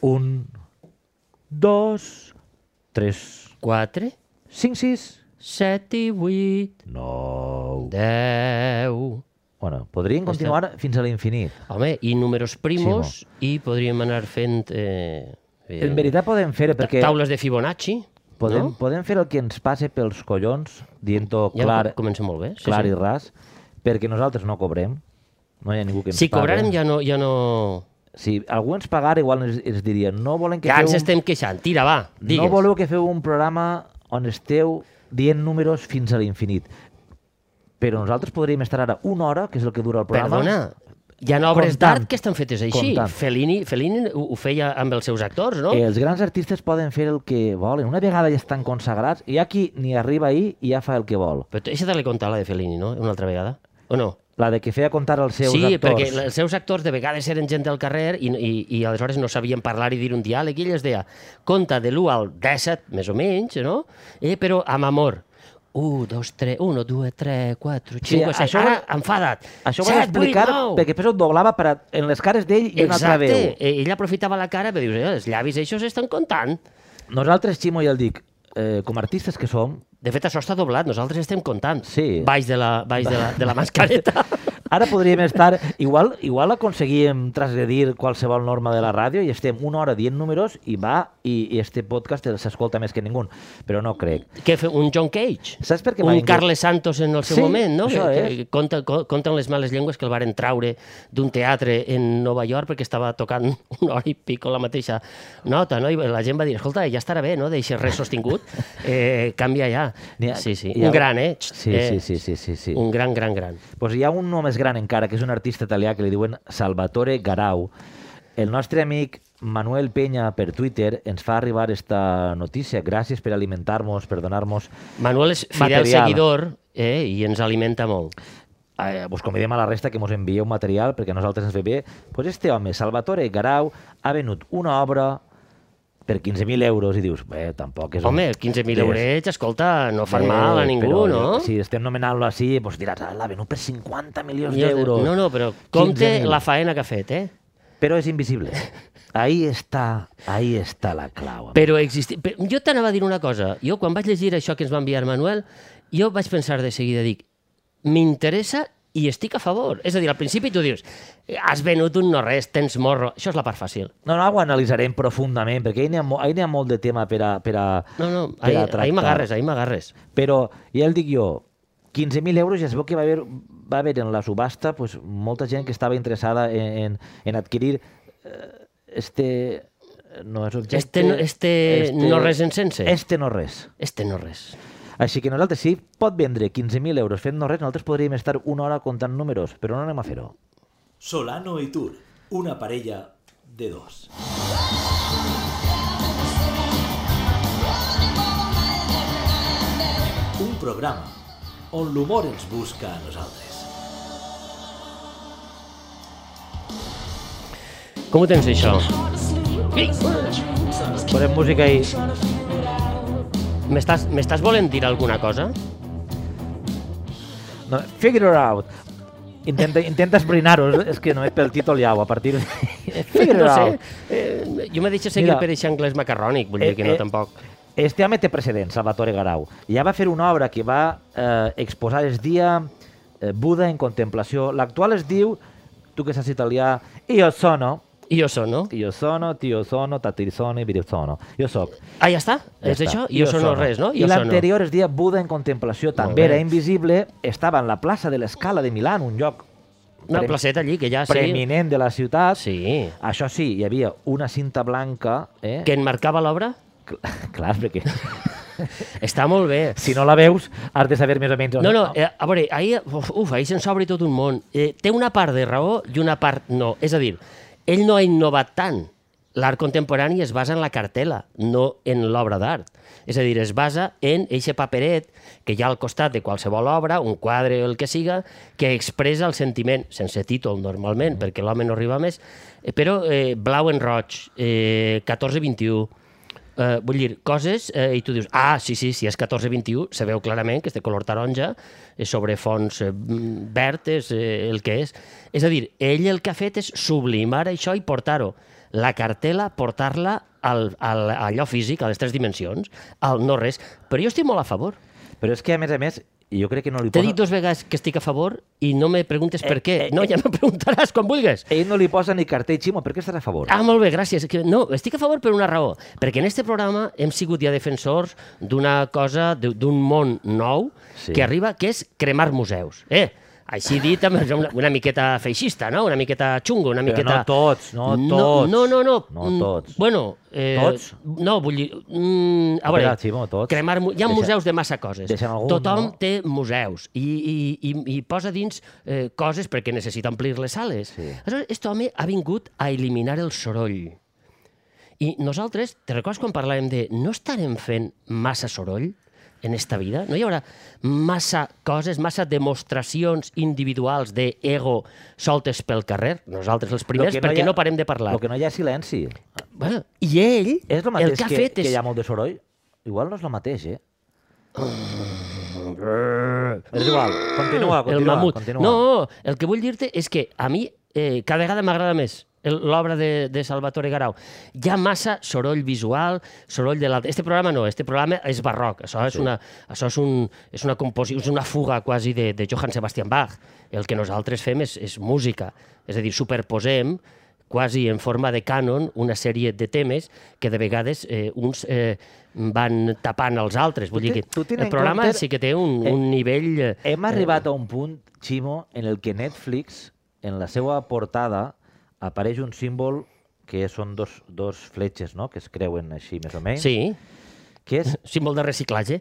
Un, dos, tres, 4, cinc, sis, 7 i 8, nou... 10. Bueno, podríem Està. continuar fins a l'infinit. Home, i números primos, i podríem anar fent... Eh, eh, En veritat podem fer ta- perquè Taules de Fibonacci, podem, no? podem fer el que ens passe pels collons, dient-ho Ja clar, comença molt bé. clar i ras, perquè nosaltres no cobrem, no hi ha ningú que ens Si pague. cobrarem ja no... Ja no... Si algú ens pagara, igual ens, ens diria no volen que Ja ens feu estem queixant. Tira, va, un... digues. no voleu que feu un programa on esteu dient números fins a l'infinit. Però nosaltres podríem estar ara una hora, que és el que dura el programa. Perdona, hi ha obres Comptant. d'art que estan fetes així. Comptant. Eh. Fellini, Fellini ho, ho feia amb els seus actors, no? Els grans artistes poden fer el que volen. Una vegada ja estan consagrats, hi ha qui ni arriba ahir i ja fa el que vol. Però deixa de contar la de Fellini, no? Una altra vegada. O no? La de que feia comptar els seus sí, actors. perquè els seus actors de vegades eren gent del carrer i, i, i aleshores no sabien parlar i dir un diàleg i ell es deia, compta de l'1 al 17, més o menys, no? Eh, però amb amor. 1, 2, 3, 1, 2, 3, 4, 5, Sí, 6, això ara ho- enfadat. Això ho 7, vaig explicar 8, 9. perquè després ho doblava per a, en les cares d'ell i una altra veu. Exacte, Eh, ell aprofitava la cara i dius, eh, els llavis, això s'estan comptant. Nosaltres, Ximo, ja el dic, eh, com a artistes que som, De fet, això està doblat, nosaltres estem comptant. Sí. Baix de la, baix de la, de la mascareta. Ara podríem estar... Igual, igual aconseguíem transgredir qualsevol norma de la ràdio i estem una hora dient números i va, i, i este podcast s'escolta més que ningú. Però no crec. que fe, un John Cage. Saps per què un m'ha vingut? Carles Santos en el seu Sí, moment, no? això que, és. que conta, co- conten les males llengües que el varen traure d'un teatre en Nova York perquè estava tocant una hora i pico la mateixa nota, no? I la gent va dir, escolta, ja estarà bé, no?, deixa res sostingut, eh, canvia ja. N'hi ha- sí, sí, hi ha- un gran, eh? Txt, Sí, eh? sí, sí, sí, sí. sí. Un gran, gran, gran. Pues hi ha un nom més gran encara, que és un artista italià que li diuen Salvatore Garau. El nostre amic Manuel Penya per Twitter ens fa arribar esta notícia. Gràcies per alimentar-nos, per donar-nos... Manuel és fidel Material. seguidor eh, i ens alimenta molt. Eh, vos convidem a la resta que mos envieu material perquè a nosaltres ens ve bé. Pues este home, Salvatore Garau, ha venut una obra per 15.000 euros i dius, bé, tampoc és... un- Home, 15.000 és- eurets, escolta, no fan bé, mal a ningú, però no? Si estem nomenant-lo així, doncs diràs, ah, l'ha venut per 50 milions Milions de- d'euros. No, no, però compte 15.000. la faena que ha fet, eh? Però és invisible. Ahí està, ahí està la clau. amic. Però existi... però Jo t'anava a dir una cosa. Jo, quan vaig llegir això que ens va enviar Manuel, jo vaig pensar de seguida, dic, m'interessa i estic a favor. És a dir, al principi tu dius, has venut un no-res, tens morro. Això és la part fàcil. No, no, ho analitzarem profundament, perquè ahir n'hi ha, mo- ahí n'hi ha molt de tema per a, per a, No, no, per ahir, a ahir tractar. m'agarres, ahir m'agarres. Però ja el dic jo, 15.000 euros ja es veu que va haver, va haver en la subhasta pues, molta gent que estava interessada en, en, en adquirir eh, este... No és objecte... Este no- este no res en sense. Este no res. Este no-res. Així que nosaltres, si pot vendre 15.000 euros fent no res, nosaltres podríem estar una hora comptant números, però no anem a fer-ho. Solano y Tour, una parella de dos. Un programa on l'humor ens busca a nosaltres. Com ho tens, això? Posem música i... M'estàs m'estàs volent dir alguna cosa? No, figure it out. Intenta, intenta esbrinar-ho, és- és que només pel títol ja ho a partir... de- figure no it sé. out. Eh, jo me deixo seguir Mira. per aquest anglès macarrònic, vull dir Eh, que no, eh. tampoc. Este home té precedent, Salvatore Garau. Ja va fer una obra que va eh, exposar es dia eh, Buda en contemplació. L'actual es diu, tu que saps italià, Io sono, I jo sono. io sono, tio sono, tati sono, viri sono. Jo soc. Ah, ja està? Ja és està. això? I jo sono res, no? I Jo sono. l'anterior es dia Buda en contemplació, també bé. era invisible, estava en la plaça de l'Escala de Milà, en un lloc Una pre- placeta allí, que ja sé... preeminent de la ciutat. Ah, Sí. Això sí, hi havia una cinta blanca, eh? Que enmarcava l'obra? Cl- Clar, perquè Està molt bé. si no la veus has de saber més o menys... on- No, no, eh, a veure, ahir, uf, uf, ahir se'ns obri tot un món. Eh, té una part de raó i una part no. És a dir, ell no ha innovat tant. L'art contemporani es basa en la cartela, no en l'obra d'art. És a dir, es basa en eixe paperet que hi ha al costat de qualsevol obra, un quadre o el que siga, que expressa el sentiment, sense títol normalment, perquè l'home no arriba més, eh, però eh, blau en roig, eh, 14-21, Eh, vull dir, coses, eh, i tu dius, ah, sí, sí, si és 14-21, se veu clarament que és de color taronja, eh, sobre fons eh, mm, verd, és eh, el que és. És a dir, ell el que ha fet és sublimar això i portar-ho. la cartela, portar-la al, al, a allò físic, a les tres dimensions, al no res. Però jo estic molt a favor. Però és que, a més a més, jo crec que no li T'he posa... dit dues vegades que estic a favor i no me preguntes per què. no, ja me preguntaràs quan vulguis. Ell no li posa ni cartell, Ximo, per què estàs a favor? Ah, molt bé, gràcies. Que- No, estic a favor per una raó. Perquè en este programa hem sigut ja defensors d'una cosa, d- d'un món nou Sí. sí. que arriba, que és cremar museus. Eh, així dit, amb una, una miqueta feixista, no? Una miqueta xungo, una Però miqueta... no tots, no tots. No, no, no. No Mm, tots. Bueno, eh, Tots? No, vull dir... Mm, a Espera, veure, Ximo, tots? cremar... mu- Hi ha Deixa- museus de massa coses. deixa'm algun, Tothom no? té museus i, i, i, i posa dins eh, coses perquè necessita omplir les sales. Sí. Aleshores, aquest home ha vingut a eliminar el soroll. I nosaltres, te recordes quan parlàvem de no estarem fent massa soroll en esta vida? No hi haurà massa coses, massa demostracions individuals d'ego soltes pel carrer? Nosaltres els primers, Lo que no perquè hi ha- no parem de parlar. Lo que no hi ha és silenci. Bueno, I ell, És el el mateix que ha que, fet que és... hi ha molt de soroll? Igual no és el mateix, eh? És igual, continua, Ah. Ah, el continua, mamut. continua. No, el que vull dir-te és que a mi eh, cada vegada m'agrada més el- l'obra de, de Salvatore Garau. Hi ha massa soroll visual, soroll de l'altre. Este programa no, este programa és barroc. Això és, una, això és, un, és una composició, és una fuga quasi de, de Johann Sebastian Bach. El que nosaltres fem és, és música. És a dir, superposem quasi en forma de cànon una sèrie de temes que de vegades eh, uns eh, van tapant els altres. Vull dir te- que tu ten en el programa compte- sí que té un, Eh, un nivell... eh, Hem arribat a un punt, Ximo, en el que Netflix, en la seva portada, apareix un símbol que són dos, dos fletxes, no?, que es creuen així, més o menys. Sí, Que és, símbol de reciclatge.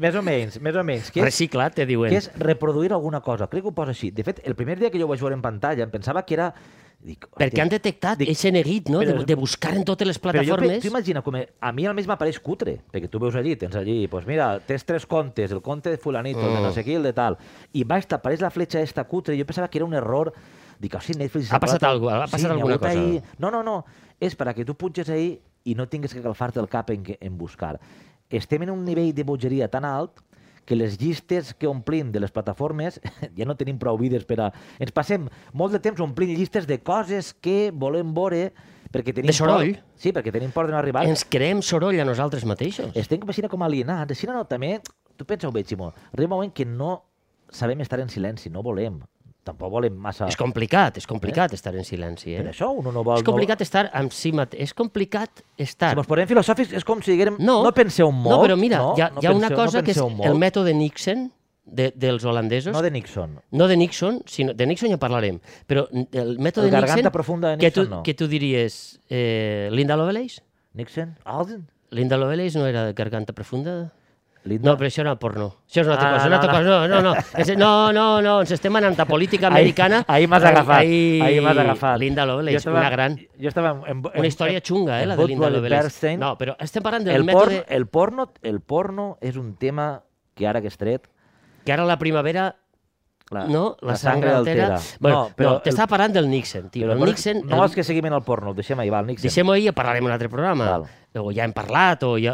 més o menys, més o menys, que és, Recicla, te diuen. que és reproduir alguna cosa. Crec que ho posa així. De fet, el primer dia que jo ho vaig veure en pantalla, em pensava que era... Dic, Perquè han detectat dic- aquest neguit, no? Però- de, de buscar en totes les Però jo pe- plataformes. tu imagina, com a mi almenys m'apareix cutre, perquè tu veus allí, tens allí, doncs mira, tens tres contes, el conte de fulanito, mm. de no sé qui, el de tal, i baix t'apareix la fletxa esta cutre, i jo pensava que era un error, dic, oh, sí, Netflix... Ha passat calculat- algo- ha passat n'hi ha alguna hagut cosa." ahí- No, no, no, és per a que tu punxes ahí i no tinguis que calfar-te el cap en, que- en buscar. Estem en un nivell de bogeria tan alt que les llistes que omplim de les plataformes ja no tenim prou vides per a... Ens passem molt de temps omplint llistes de coses que volem veure perquè tenim De soroll. Por, sí, perquè tenim por de no arribar. Ens creem soroll a nosaltres mateixos. Estem com així com alienats. Així no, també, tu pensa-ho bé, Ximo. Arriba un moment que no sabem estar en silenci, no volem. Tampoc volem massa... És complicat, és complicat estar en silenci. Eh? Per això un no vol... és complicat estar amb si mateix. És complicat estar... No... Si mos posem filosòfics és com si diguem... No, no penseu molt. No, però mira, no, hi ha, no hi ha una penseu- cosa no que és penseu molt, el mètode Nixon de, dels holandesos, No de Nixon. No de Nixon, sinó de Nixon ja parlarem, però el mètode El garganta Nixon, profunda de que, tu, Nixon, no. que tu diries eh, Linda Lovelace? Nixon? Alden? Linda Lovelace no era de garganta profunda? Linda? No, però això era porno. Això és una altra Ah, cosa. Una altra no, cosa. No, no, no. És- No, no, no. Ens estem anant a política americana. Ahir, ahir m'has agafat. Ahir, ahir m'has agafat. Linda Jo Lovelace, estava- una gran... Jo estava en, en, Una història xunga, eh, la de Linda Lovelace. Bernstein, No, però estem parlant del el, mètode... por, el, porno, el porno és un tema que ara que és tret... Que ara la primavera Ah, La, no, la, sangre, altera. Bueno, no, però no, t'està parlant del Nixon, tio. però El por- Nixon... No el- és que seguim en el porno, el deixem ahir, va, el Nixon. Deixem-ho ahir, ja parlarem en un altre programa. Val. O ja hem parlat, o ja...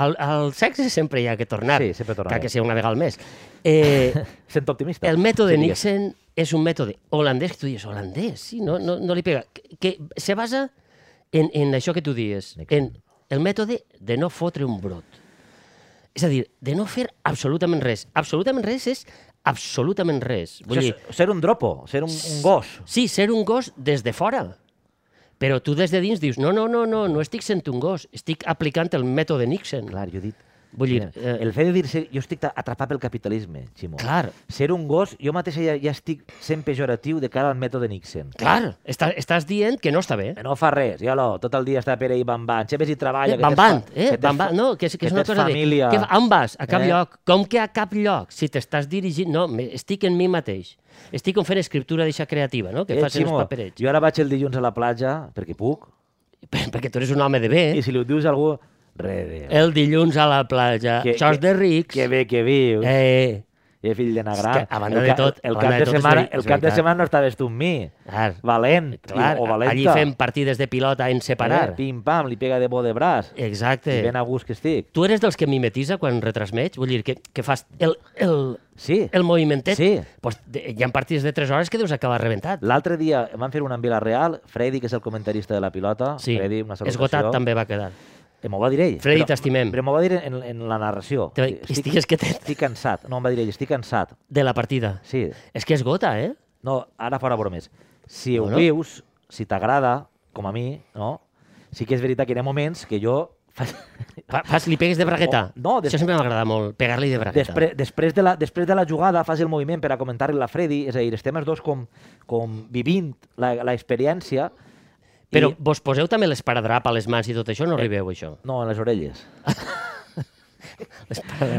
Al, al sexe sempre hi ha que tornar. Sí, sempre tornarem. Clar que sigui una vegada al mes. Eh, Sent optimista. el mètode digues. Nixon és un mètode holandès, que tu dius, holandès, sí, no, no, no li pega. Que, que se basa en, en això que tu dius, Nixon. en el mètode de no fotre un brot. És a dir, de no fer absolutament res. Absolutament res és absolutament res. Vull dir, Això és ser un dropo, ser un, un gos. Sí, ser un gos des de fora. Però tu des de dins dius, no, no, no, no, no estic sent un gos, estic aplicant el mètode Nixon. Clar, jo he dit... Vull dir, Mira, eh, el fet de dir jo estic atrapat pel capitalisme, Ximo. Clar. Ser un gos, jo mateix ja, ja estic sent pejoratiu de cara al mètode Nixon. Clar, està, estàs dient que no està bé. Que no fa res, ja lo, tot el dia està per ahí bambant, sempre hi treballa... Eh, Ah, que tens van, fa- van, eh? tens Van, fa- van, no, que és, que és una tens cosa família. de... Que, va- on vas? A Eh? cap eh? lloc. Com que a cap lloc? Si t'estàs dirigint... No, me- estic en mi mateix. Estic com fent escriptura d'eixa creativa, no? Que Eh, fas els Ximo, paperets. jo ara vaig el dilluns a la platja, perquè puc, Perquè tu eres un home de bé. i si li ho dius a algú, re de... Eh, El dilluns a la platja. Que- Això és que- de rics. Que bé que vius. Eh. Eh, i fill de És Nagrán. que, a banda el, de ca- tot, el a cap banda de de, tot és setmana, veri- és el cap de veritat. setmana no estaves tu amb mi. Clar, Valent clar, i, o valenta. allí fem partides de pilota en separar. Eh? Pim, pam, li pega de bo de braç. Exacte. I ben a gust que estic. Tu eres dels que mimetitza quan retransmets? Vull dir, que, que fas el, el, Sí. el movimentet? Sí. Pues, de, hi ha partides de 3 hores que deus acabar rebentat. L'altre dia van fer una en Villarreal, Freddy, que és el comentarista de la pilota, Sí, Freddy, una salutació. esgotat també va quedar. Eh, m'ho va dir ell. Freddy, però- t'estimem. Però m'ho va dir en, en la narració. Te- estigues que te- Estic cansat. No, em va dir ell, estic cansat. De la partida. Sí. És que esgota, eh? No, ara fora bromes. Si ho Bueno. vius, si t'agrada, com a mi, no? Sí que és veritat que hi ha moments que jo... faig- Fa, fas, li pegues de bragueta. O- Ah. no, des- Això sempre m'agrada molt, pegar-li de bragueta. Despre, després, de la, després de la jugada fas el moviment per a comentar-li a Freddy, és a dir, estem els dos com, com vivint la- l'experiència Però i- Eh. vos poseu també l'esparadrap a les mans i tot això? No arribeu, a això? No, en les orelles.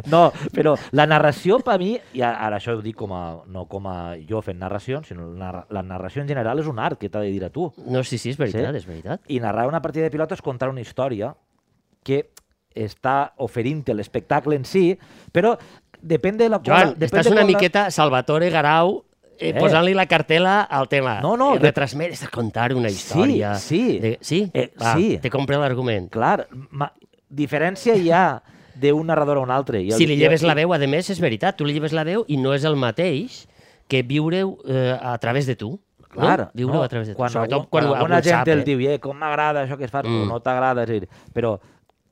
No, però la narració per mi, i a- ara això ho dic com a, no com a jo fent narracions, sinó la, la narració en general és un art que t'ha de dir a tu. No, sí, sí, és veritat, Sí. és veritat. I narrar una partida de pilota és contar una història que està oferint l'espectacle en si, però depèn de la... Joan, depèn estàs de una com la- miqueta Salvatore Garau eh, Eh. posant-li la cartela al tema. No, no, Eh, de- Retransmet, és a contar una història. sí. De... Sí? Eh, Va, sí. Te compre l'argument. Clar, ma... diferència hi ha d'un narrador a un altre. I el- Si li i- lleves la veu, a més, és veritat. Tu li lleves la veu i no és el mateix que viure-ho eh, a través de tu. Clar, no? Viure-ho a través de tu. quan, Sobretot algun, quan, quan, algú alguna ho gent sap, el eh? diu, eh, com m'agrada això que es fa, mm. Mm. no t'agrada, és a dir, però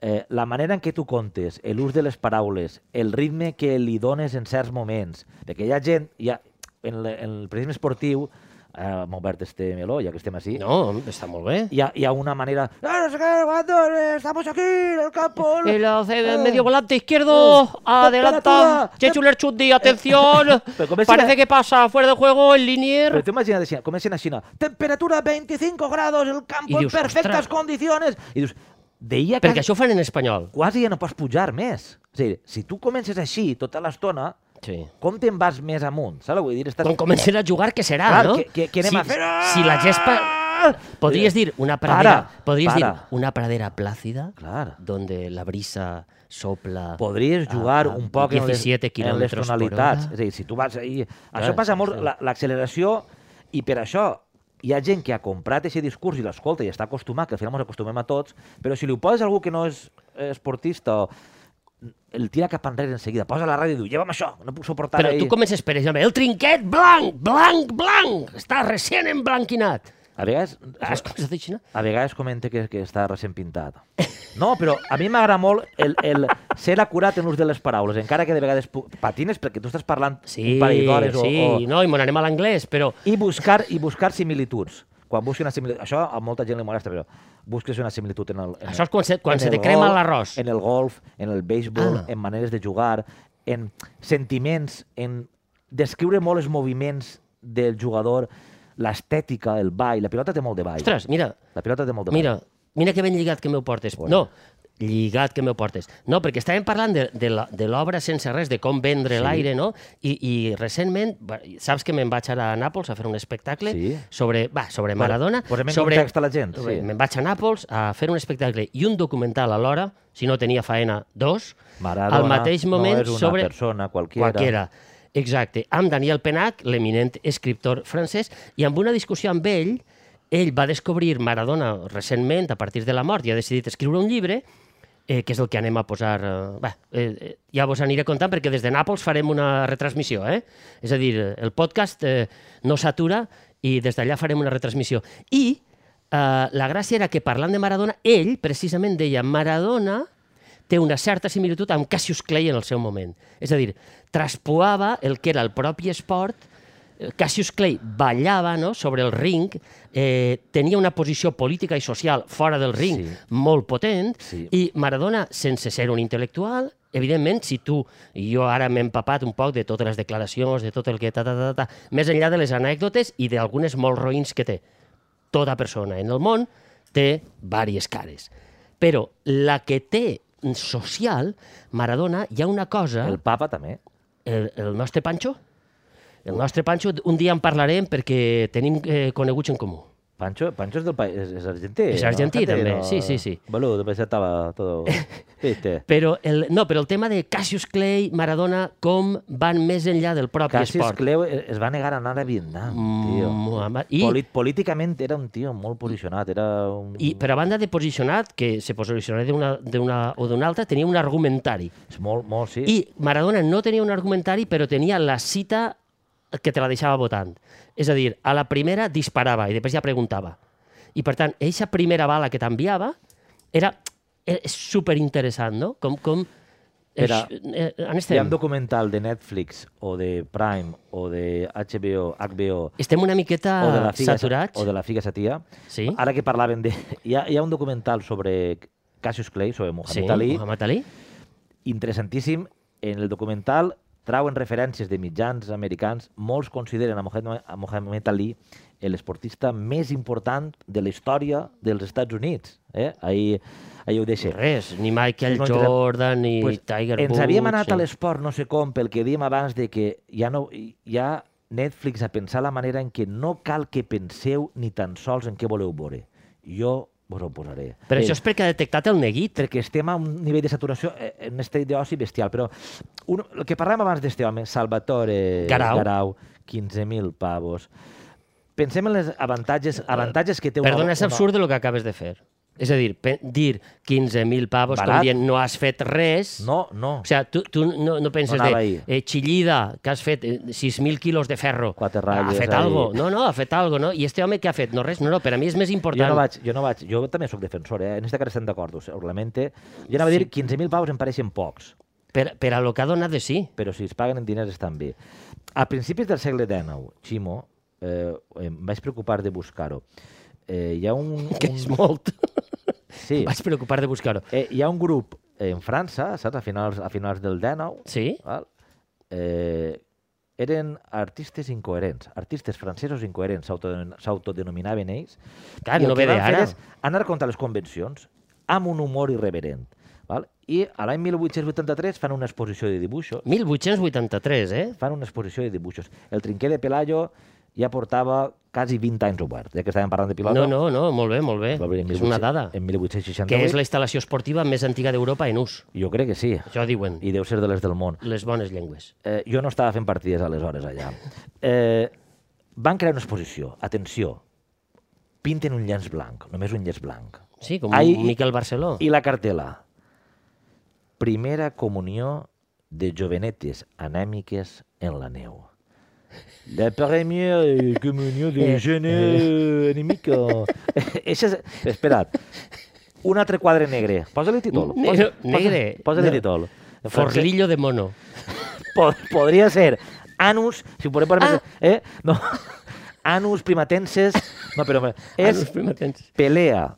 eh, la manera en què tu contes, l'ús de les paraules, el ritme que li dones en certs moments, perquè hi ha gent, hi ha, en, le- en el periodisme esportiu, eh, hem obert este meló, ja que estem així, No, està molt bé. hi, ha, hi ha una manera, "Ah, no sé què, cuando estamos aquí, en el campo... El, eh, eh, medio volante izquierdo, eh, adelanta, temperatura, Chechu Lerchundi, atención, Pero como es parece una- que pasa, fuera de juego, el Però linier. t'imagines així, comencen així, no? temperatura 25 grados, el I campo dius, en perfectes "Ostres". condiciones, i dius, deia que... Perquè això ho fan en espanyol. quasi ja no pots pujar més. És a dir, si tu comences així tota l'estona, Sí. com te'n vas més amunt? Saps? Vull dir, estàs... Quan comencen a jugar, què serà, Clar, no? què- què- què anem si, a fer? Ah! Si la gespa... Podries dir una pradera, Para, podries para. dir una pradera plàcida, Clar. donde la brisa sopla... Podries jugar a- a un poc en les, 17 en les Ah, quilòmetres per tonalitats. hora. És a dir, si tu vas ahir... Clar, això passa sí, molt, sí. la- l'acceleració, i per això hi ha gent que ha comprat aquest discurs i l'escolta i està acostumat, que al final ens acostumem a tots, però si li ho poses a algú que no és eh, esportista o el tira cap enrere en seguida, posa la ràdio i diu, lleva'm això, no puc suportar Però ahir. tu comences per exemple, el trinquet blanc, blanc, blanc, està recient emblanquinat. A vegades... Has començat així, no? A vegades comenta que, que està recent pintat. No, però a mi m'agrada molt el, el ser acurat en l'ús de les paraules, encara que de vegades pu- patines perquè tu estàs parlant Sí, un parell d'hores sí, o, o... no, i mon anem a l'anglès, però... I, buscar, I buscar similituds. Quan busqui una similitud... Això a molta gent li molesta, però busques una similitud en el... En Això és quan se- en quan se te el crema golf, l'arròs. En el golf, en el béisbol, Ah. en maneres de jugar, en sentiments, en descriure molt els moviments del jugador, l'estètica, el ball. La pilota té molt de ball. Ostres, mira, La pilota té molt de ball. mira, mira que ben lligat que m'ho portes. No, lligat que m'ho portes. No, perquè estàvem parlant de, de la- de l'obra sense res, de com vendre Sí. sí. l'aire, no? I, I recentment, va, saps que me'n vaig ara a Nàpols a fer un espectacle Sí. sobre, va, sobre Bueno, Maradona. posem en sobre, context a la gent, sobre- sí. Me'n vaig a Nàpols a fer un espectacle i un documental alhora, si no tenia faena, dos, Maradona al mateix no moment és una sobre... persona qualquiera. Qualquiera. Exacte. Amb Daniel Penac, l'eminent escriptor francès, i amb una discussió amb ell, ell va descobrir Maradona recentment, a partir de la mort, i ha decidit escriure un llibre, eh, que és el que anem a posar... Eh, bé, eh, eh, ja vos aniré contant, perquè des de Nàpols farem una retransmissió, eh? És a dir, eh, el podcast eh, no s'atura i des d'allà farem una retransmissió. I eh, la gràcia era que parlant de Maradona, ell precisament deia Maradona té una certa similitud amb Cassius Clay en el seu moment. És a dir, traspoava el que era el propi esport, eh, Cassius Clay ballava no, sobre el ring, eh, tenia una posició política i social fora del ring Sí. sí. molt potent, Sí. sí. i Maradona, sense ser un intel·lectual, evidentment, si tu, i jo ara m'he empapat un poc de totes les declaracions, de tot el que ta, ta, ta, ta, ta més enllà de les anècdotes i d'algunes molt roïns que té tota persona en el món té diverses cares. Però la que té social, Maradona, hi ha una cosa... El papa també. El, el nostre Pancho? El nostre Pancho, un dia en parlarem perquè tenim eh, coneguts en comú. Pancho, Pancho es del país, es, es argentí. Es argentí, també. Sí, sí, sí. Boludo, pues ya estaba todo... Viste. Però el, no, però el tema de Cassius Clay, Maradona, com van més enllà del propi Cassius esport. Cleo es es va negar a anar a Vietnam, tio. Muhammad- I, Polit- políticament era un tio molt posicionat, era un... I, però a banda de posicionat, que se posicionava d'una d'una o d'una altra, tenia un argumentari. És molt, molt, sí. I Maradona no tenia un argumentari, però tenia la cita que te la deixava votant. És a dir, a la primera disparava i després ja preguntava. I per tant, eixa primera bala que t'enviava era eh, és superinteressant, no? Com, com... Espera, Això- eh, on Hi ha un estem? documental de Netflix o de Prime o de HBO, HBO Estem una miqueta o de la Figa, Ah, saturats. o de la Figa Satia. Sí. Ara que parlaven de... Hi ha, hi ha un documental sobre Cassius Clay, sobre Muhammad Sí, Ali, Muhammad Ali. interessantíssim. En el documental trauen referències de mitjans americans. Molts consideren a Mohamed, a Mohamed Ali l'esportista més important de la història dels Estats Units. Eh? Ahir, ahir ho deixe. Res, ni Michael Doncs, Jordan, ni Tiger ens Woods... havíem anat sí. a l'esport no sé com pel que diem abans de que ja no ja Netflix a pensar la manera en què no cal que penseu ni tan sols en què voleu veure. Jo vos ho posaré. Però Eh, això és perquè ha detectat el neguit. perquè estem a un nivell de saturació, eh, en este d'oci bestial, però un, el que parlàvem abans d'este home, Salvatore Garau. Garau 15.000 pavos. Pensem en les avantatges, avantatges que té un Eh, Perdona, home- és absurd el que acabes de fer. És a dir, pe- dir 15.000 pavos, Barat. com dient, no has fet res... No, no. O sigui, tu, tu no, no penses No de anava ahir. eh, xillida, que has fet eh, 6.000 quilos de ferro. Quatre ha ratlles fet ahí. algo. No, no, ha fet algo, no? I este home què ha fet? No res, no, no, per a mi és més important. Jo no vaig, jo no vaig, jo també sóc defensor, eh? en esta cara estem d'acord, ho ho lamente. Jo anava sí. a dir 15.000 paus em pareixen pocs, Per, per a lo que ha donat de sí. però si es paguen en diners estan bé. A principis del segle XIX, Ximo, eh, em vaig preocupar de buscar-ho. Eh, hi ha un... Que un és molt. sí. Vaig preocupar de buscar-ho. Eh, hi ha un grup eh, en França, saps, a finals, a finals del XIX, Sí? val? eh, eren artistes incoherents, artistes francesos incoherents, s'autoden- s'autodenominaven ells. Clar, I el no que ve de van fer ara. És anar contra les convencions amb un humor irreverent. Val? I a l'any 1883 fan una exposició de dibuixos. 1883, eh? Fan una exposició de dibuixos. El trinquer de Pelayo ja portava quasi 20 anys obert, ja que estàvem parlant de pilota. No, no, no, molt bé, molt bé. Va obrir en És una 1800 dada. En 1868. Que és la instal·lació esportiva més antiga d'Europa en ús. Jo crec que sí. Això diuen I deu ser de les del món. les bones llengües. Eh, jo no estava fent partides aleshores allà. Eh, van crear una exposició. Atenció. Pinten un llenç blanc, només un llenç blanc. Sí, com Ai, Ai, Miquel Barceló. I... I la cartela. Primera comunió de jovenetes anèmiques en la neu. La première comunió de jeunes anèmiques. Eixa és... Espera't. Un altre quadre negre. Posa-li títol. Ne- Posa- negre. posa- Posa-li No. títol. En francès- Forlillo de mono. po- podría ser Anus, si por por Ah. ¿eh? No. Anus primatenses. No, pero Anus es primatenses. pelea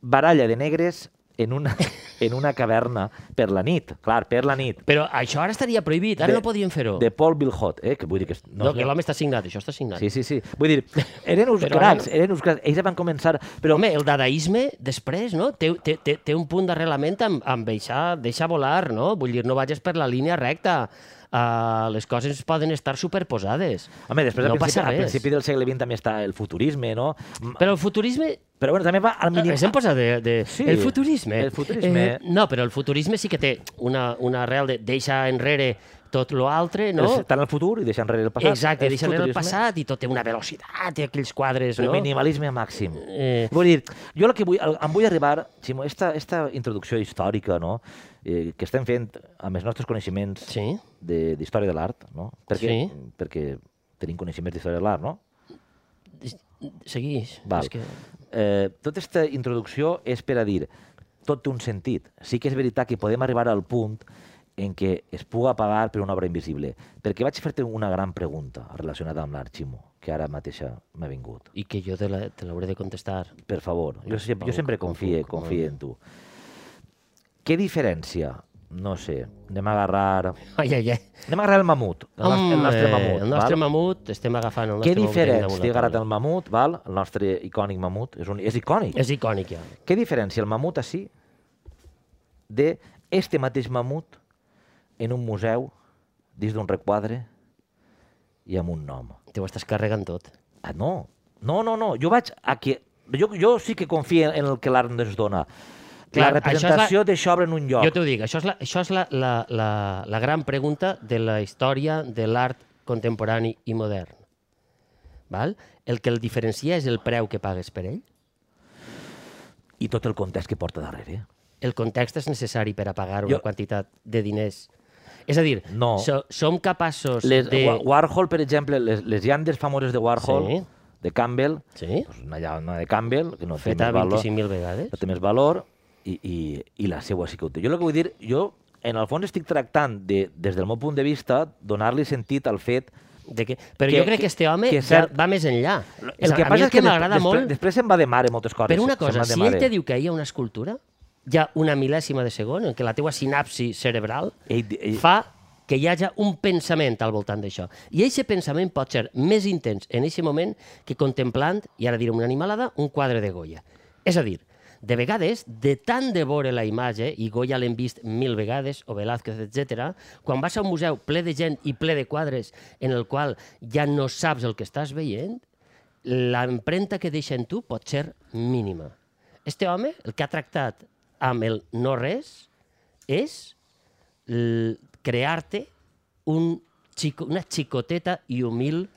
baralla de negres en una en una caverna per la nit, clar, per la nit. Però això ara estaria prohibit, ara De- no podien fer-ho. De Paul Bilhot, eh, que vull dir que... és- No, no, que l'home està signat, això està signat. Sí, sí, sí. Vull dir, eren uns Però- cracs, eren uns cracs. Ells van començar... Però, Home, el dadaisme, després, no? Té, té, té, té un punt d'arrelament amb, amb deixar, deixar volar, no? Vull dir, no vagis per la línia recta. Uh, les coses poden estar superposades. home, després no al, principi, passa al res. principi del segle XX també està el futurisme, no? Però el futurisme Però bueno, també va al mínim... Ens hem posat de, de... Sí, el futurisme. Eh, el futurisme. no, però el futurisme sí que té una, una arrel de deixar enrere tot lo altre, no? Tant el futur i deixar enrere el passat. Exacte, És deixar enrere el futurisme. passat i tot té una velocitat i aquells quadres, Però no? minimalisme màxim. Eh. Vull dir, jo el que vull, el, em vull arribar, Ximo, esta, esta introducció històrica no? eh, que estem fent amb els nostres coneixements Sí. de- d'història de, l'art, no? perquè, Sí. perquè tenim coneixements d'història de l'art, no? Seguís. Val. És que... Eh, tota aquesta introducció és per a dir, tot té un sentit. Sí que és veritat que podem arribar al punt en què es puga pagar per una obra invisible. Perquè vaig fer-te una gran pregunta relacionada amb l'art, Ximo, que ara mateixa m'ha vingut. I que jo te la- te l'hauré de contestar. Per favor, jo, Doncs sempre, Pau, jo sempre com confie, puc, confie en tu. Què diferència? No sé, anem a agarrar... Ai, ai, ai. Anem a agarrar el mamut, el, nostre, el nostre Home, mamut. El nostre val? mamut, estem agafant el Què nostre mamut. que tenim diferència? damunt la He agarrat taula. el mamut, val? el nostre icònic mamut, és, un, és icònic. És icònic, ja. Què diferència el mamut així de este mateix mamut en un museu, dins d'un requadre i amb un nom? Te ho estàs carregant tot. Ah, no, No, no, no, jo vaig a que... Jo, jo sí que confio en el que l'art ens dona. Clar, la això és la- representació d'això obre en un lloc. Jo t'ho dic, això és, la, això és la, la, la, la gran pregunta de la història de l'art contemporani i modern. Val? El que el diferencia és el preu que pagues per ell. I tot el context que porta darrere. eh? El context és necessari per a pagar una Jo- quantitat de diners. És a dir, No. so, som capaços Les, de... Wa- Warhol, per exemple, les, les llandes famoses de Warhol, Sí. de Campbell, Sí? pues una llana de Campbell, que no té Feta més valor, 25.000 vegades. no té més valor i, i, i la seua sí que ho té. Jo el que vull dir, jo en el fons estic tractant, de, des del meu punt de vista, donar-li sentit al fet De que... Però Que- jo crec que- que este home que que és cert... cert. va més enllà. El que a mi passa el és que, que m'agrada després, molt... després se'n va de mare moltes coses. Però una se'n va cosa, de si ell mare. te diu que hi ha una escultura, hi ha una mil·lèsima de segon en què la teua sinapsi cerebral Ell di- ell- fa que hi hagi un pensament al voltant d'això. I aquest pensament pot ser més intens en aquest moment que contemplant, i ara diré una animalada, un quadre de Goya. És a dir, de vegades, de tant de veure la imatge, i Goya l'hem vist mil vegades, o Velázquez, etc., quan vas a un museu ple de gent i ple de quadres en el qual ja no saps el que estàs veient, l'empremta que deixa en tu pot ser mínima. Este home, el que ha tractat amb el no res, és l- crear-te un xico, una xicoteta i humil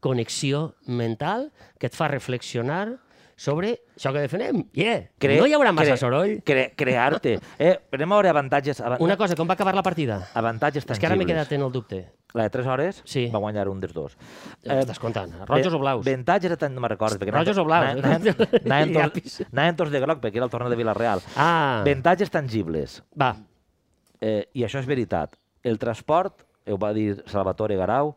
connexió mental que et fa reflexionar sobre això que defenem. Yeah. Cre- no hi haurà massa cre- soroll. Cre Crear-te. Eh, anem a veure avantatges, ava Una cosa, com va acabar la partida? avantatges És tangibles. que ara m'he quedat en el dubte. La de 3 hores Sí. va guanyar un dels dos. Estàs contant. Rojos Ve- o blaus? Avantatges, tant no me'n recordo. perquè Rojos anaven- o blaus, anaven- eh? Anaven Ja tots- anaven tots de groc, perquè era el torneig de Vilareal. Ah, Avantatges tangibles. va. Eh, I això és veritat. El transport, ho va dir Salvatore Garau,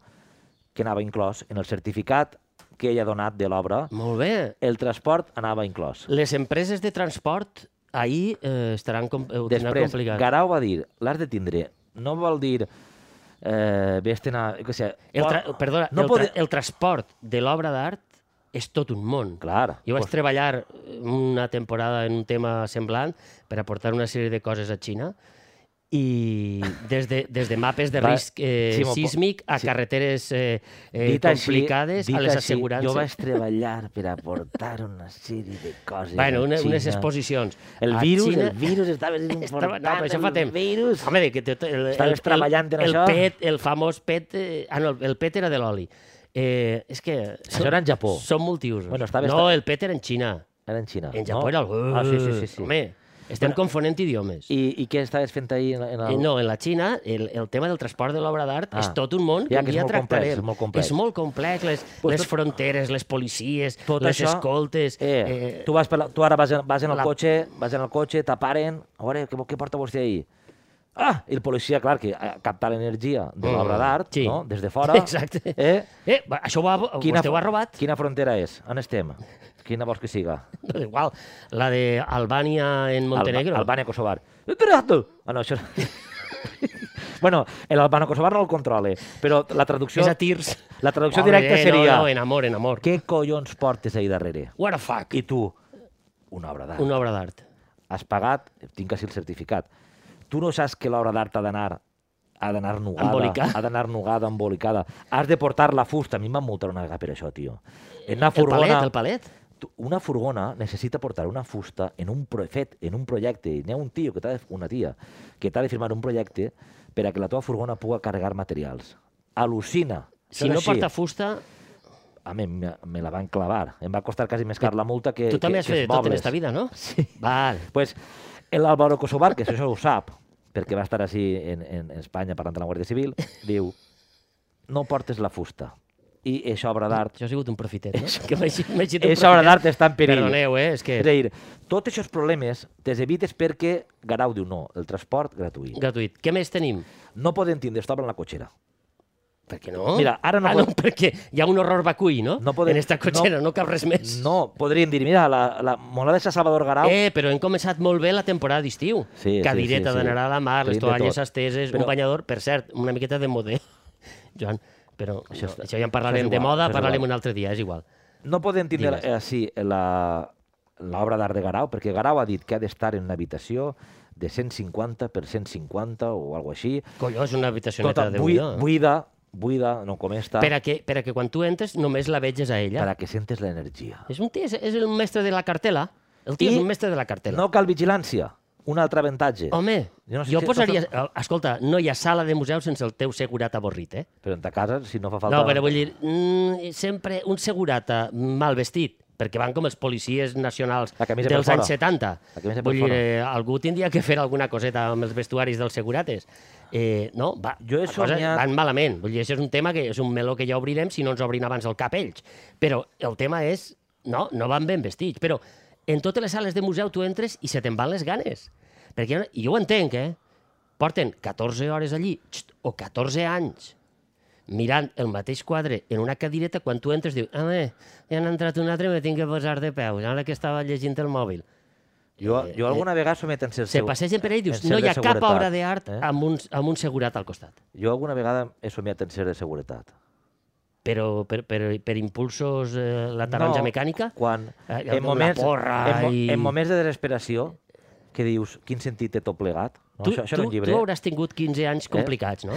que anava inclòs en el certificat que ell ha donat de l'obra, Molt bé. el transport anava inclòs. Les empreses de transport ahir eh, estaran com, eh, ho tindran Després, complicat. Garau va dir, l'has de tindre. No vol dir... Eh, vés-te'n a... Que sé, El tra... pot- Perdona, no no el, tra... pode... el transport de l'obra d'art és tot un món. Clar. Jo vaig pues, treballar eh, una temporada en un tema semblant per aportar una sèrie de coses a Xina i des de, des de mapes de Va, risc eh, Ximo, po- sísmic a sí. carreteres eh, eh, dit així- complicades, dit a les així, assegurances. Jo vaig treballar per aportar una sèrie de coses Bueno, a una, Xina. unes exposicions. El A virus, Xina- el virus estava important. Estava, no, però això fa temps. El virus. Home, de que tot el, Estaves treballant en el, això? PET, el famós PET... Eh, ah, no, el- el PET era de l'oli. Eh, és que... Això era en Japó. Són multiusos. Bueno, estava- no, el PET era en Xina. Era en Xina. En Japó no? era el... Ah, sí, sí, sí. sí. Home, estem confonent idiomes. I, I què estaves fent ahir? En, en Eh, el... No, en la Xina el, el tema del transport de l'obra d'art Ah. és tot un món Ja, que un que és dia molt complex, tractarem. és molt complex. És molt complex, les, Pues les tot- fronteres, les policies, Tot les això- escoltes... Eh, tu, vas per la, tu ara vas, en- vas en el la- cotxe, vas en el cotxe, t'aparen, a veure, què, què porta vostè ahir? Ah, i el policia, clar, que ha captat l'energia de Mm, l'obra d'art, sí. no? Des de fora. Exacte. Eh? Eh, va, això ho ha, vostè ho ha robat? Quina frontera és? On estem? Quina vols que siga? No, igual, la de Albània en Montenegro. Alba, Albània Kosovar. Espera't! Ah, no, això... bueno, l'Albano Kosovar no el controla, però la traducció... És a tirs. La traducció Home, directa eh, seria... No, no, en amor, en amor. Què collons portes ahir darrere? What a fuck. I tu, una obra d'art. Una obra d'art. Has pagat, tinc quasi el certificat. Tu no saps que l'obra d'art ha d'anar ha d'anar nugada, Embolicada. ha d'anar nugada, embolicada. Has de portar la fusta. A mi em van multar una vegada per això, tio. En una El palet, furgona... el palet. Tu- una furgona necessita portar una fusta en un pro- fet, en un projecte, i n'hi ha un tio, que t'ha de, una tia, que t'ha de firmar un projecte per a que la teva furgona puga carregar materials. Al·lucina. Si no porta fusta, A mi me, me la van clavar. Em va costar quasi més car la multa que tu també Eh, que, has fet de els tot en mobles. esta vida, no? Sí. Val. Pues, L'Álvaro Kosovar, que això ho sap, perquè va estar així en, en Espanya parlant de la Guàrdia Civil, diu, no portes la fusta. I això obra d'art Jo he sigut un profitet, no? Que m'he sigut- m'he sigut un és obra profitet. d'art està en perill. Perdoneu, eh? És que- És a dir, tots aquests problemes te'ls evites perquè Garau diu no, el transport gratuït. Gratuït. Què més tenim? No poden tindre esta obra en la cotxera. Per què no? Mira, ara no ah, pot- no, perquè hi ha un horror vacui, no? No podem- En esta cotxera no, cap res més. No, podrien dir, mira, la, la monada de Sant Salvador Garau... Eh, però hem començat molt bé la temporada d'estiu. Sí, sí, Cadireta sí, sí. d'anar a la mar, les Tenim de toalles tot. esteses, Però- un banyador, per cert, una miqueta de modè, Joan, però això, està- no, això ja en això parlarem és de igual, moda, això és parlarem igual. un altre dia, és igual. No poden tindre Digues. eh, sí, la- l'obra d'art de Garau, perquè Garau ha dit que ha d'estar en una habitació de 150 per 150 o alguna així, Colló, és una habitacioneta tota de bui, buida. buida, buida, no com esta, Per a, que, per a que quan tu entres només la veges a ella. para que sientes l'energia. És un tio, és, és el mestre de la cartela. El tio I és un mestre de la cartela. No cal vigilància, un altre avantatge. Home, Jo jo, no sé jo si- posaria... Escolta, no hi ha sala de museu sense el teu segurata avorrit, eh? Però en ta casa, si no fa falta... Falta... No, però vull dir, mm, sempre un segurata mal vestit, perquè van com els policies nacionals La camisa per dels fora. anys 70. La camisa per Vull dir, fora. eh, algú tindria que fer alguna coseta amb els vestuaris dels segurates. Eh, no, va, Jo he la cosa- somiat- van malament. Vull dir, això és un tema que és un meló que ja obrirem si no ens obrin abans el cap ells. Però el tema és, no, no van ben vestits. Però en totes les sales de museu tu entres i se te'n van les ganes. Perquè hi ha una- i jo ho entenc, eh? Porten 14 hores allí, xt, o 14 anys, mirant el mateix quadre en una cadireta, quan tu entres dius, home, ja n'ha entrat un altre, me tinc que posar de peus, ara que estava llegint el mòbil. Jo, Eh, jo alguna vegada somet en ser Se passegen per ell i dius, no hi ha cap obra d'art eh? amb, un, amb un segurat al costat. Jo alguna vegada he somiat en ser de seguretat. Però per, per, per impulsos, eh, la taronja No, mecànica? Quan, Eh, el en, de la moments, porra en, mo- i- en moments de desesperació, que dius, quin sentit té tot plegat? No, tu, això, això tu, era un llibre. tu hauràs tingut 15 anys complicats, no?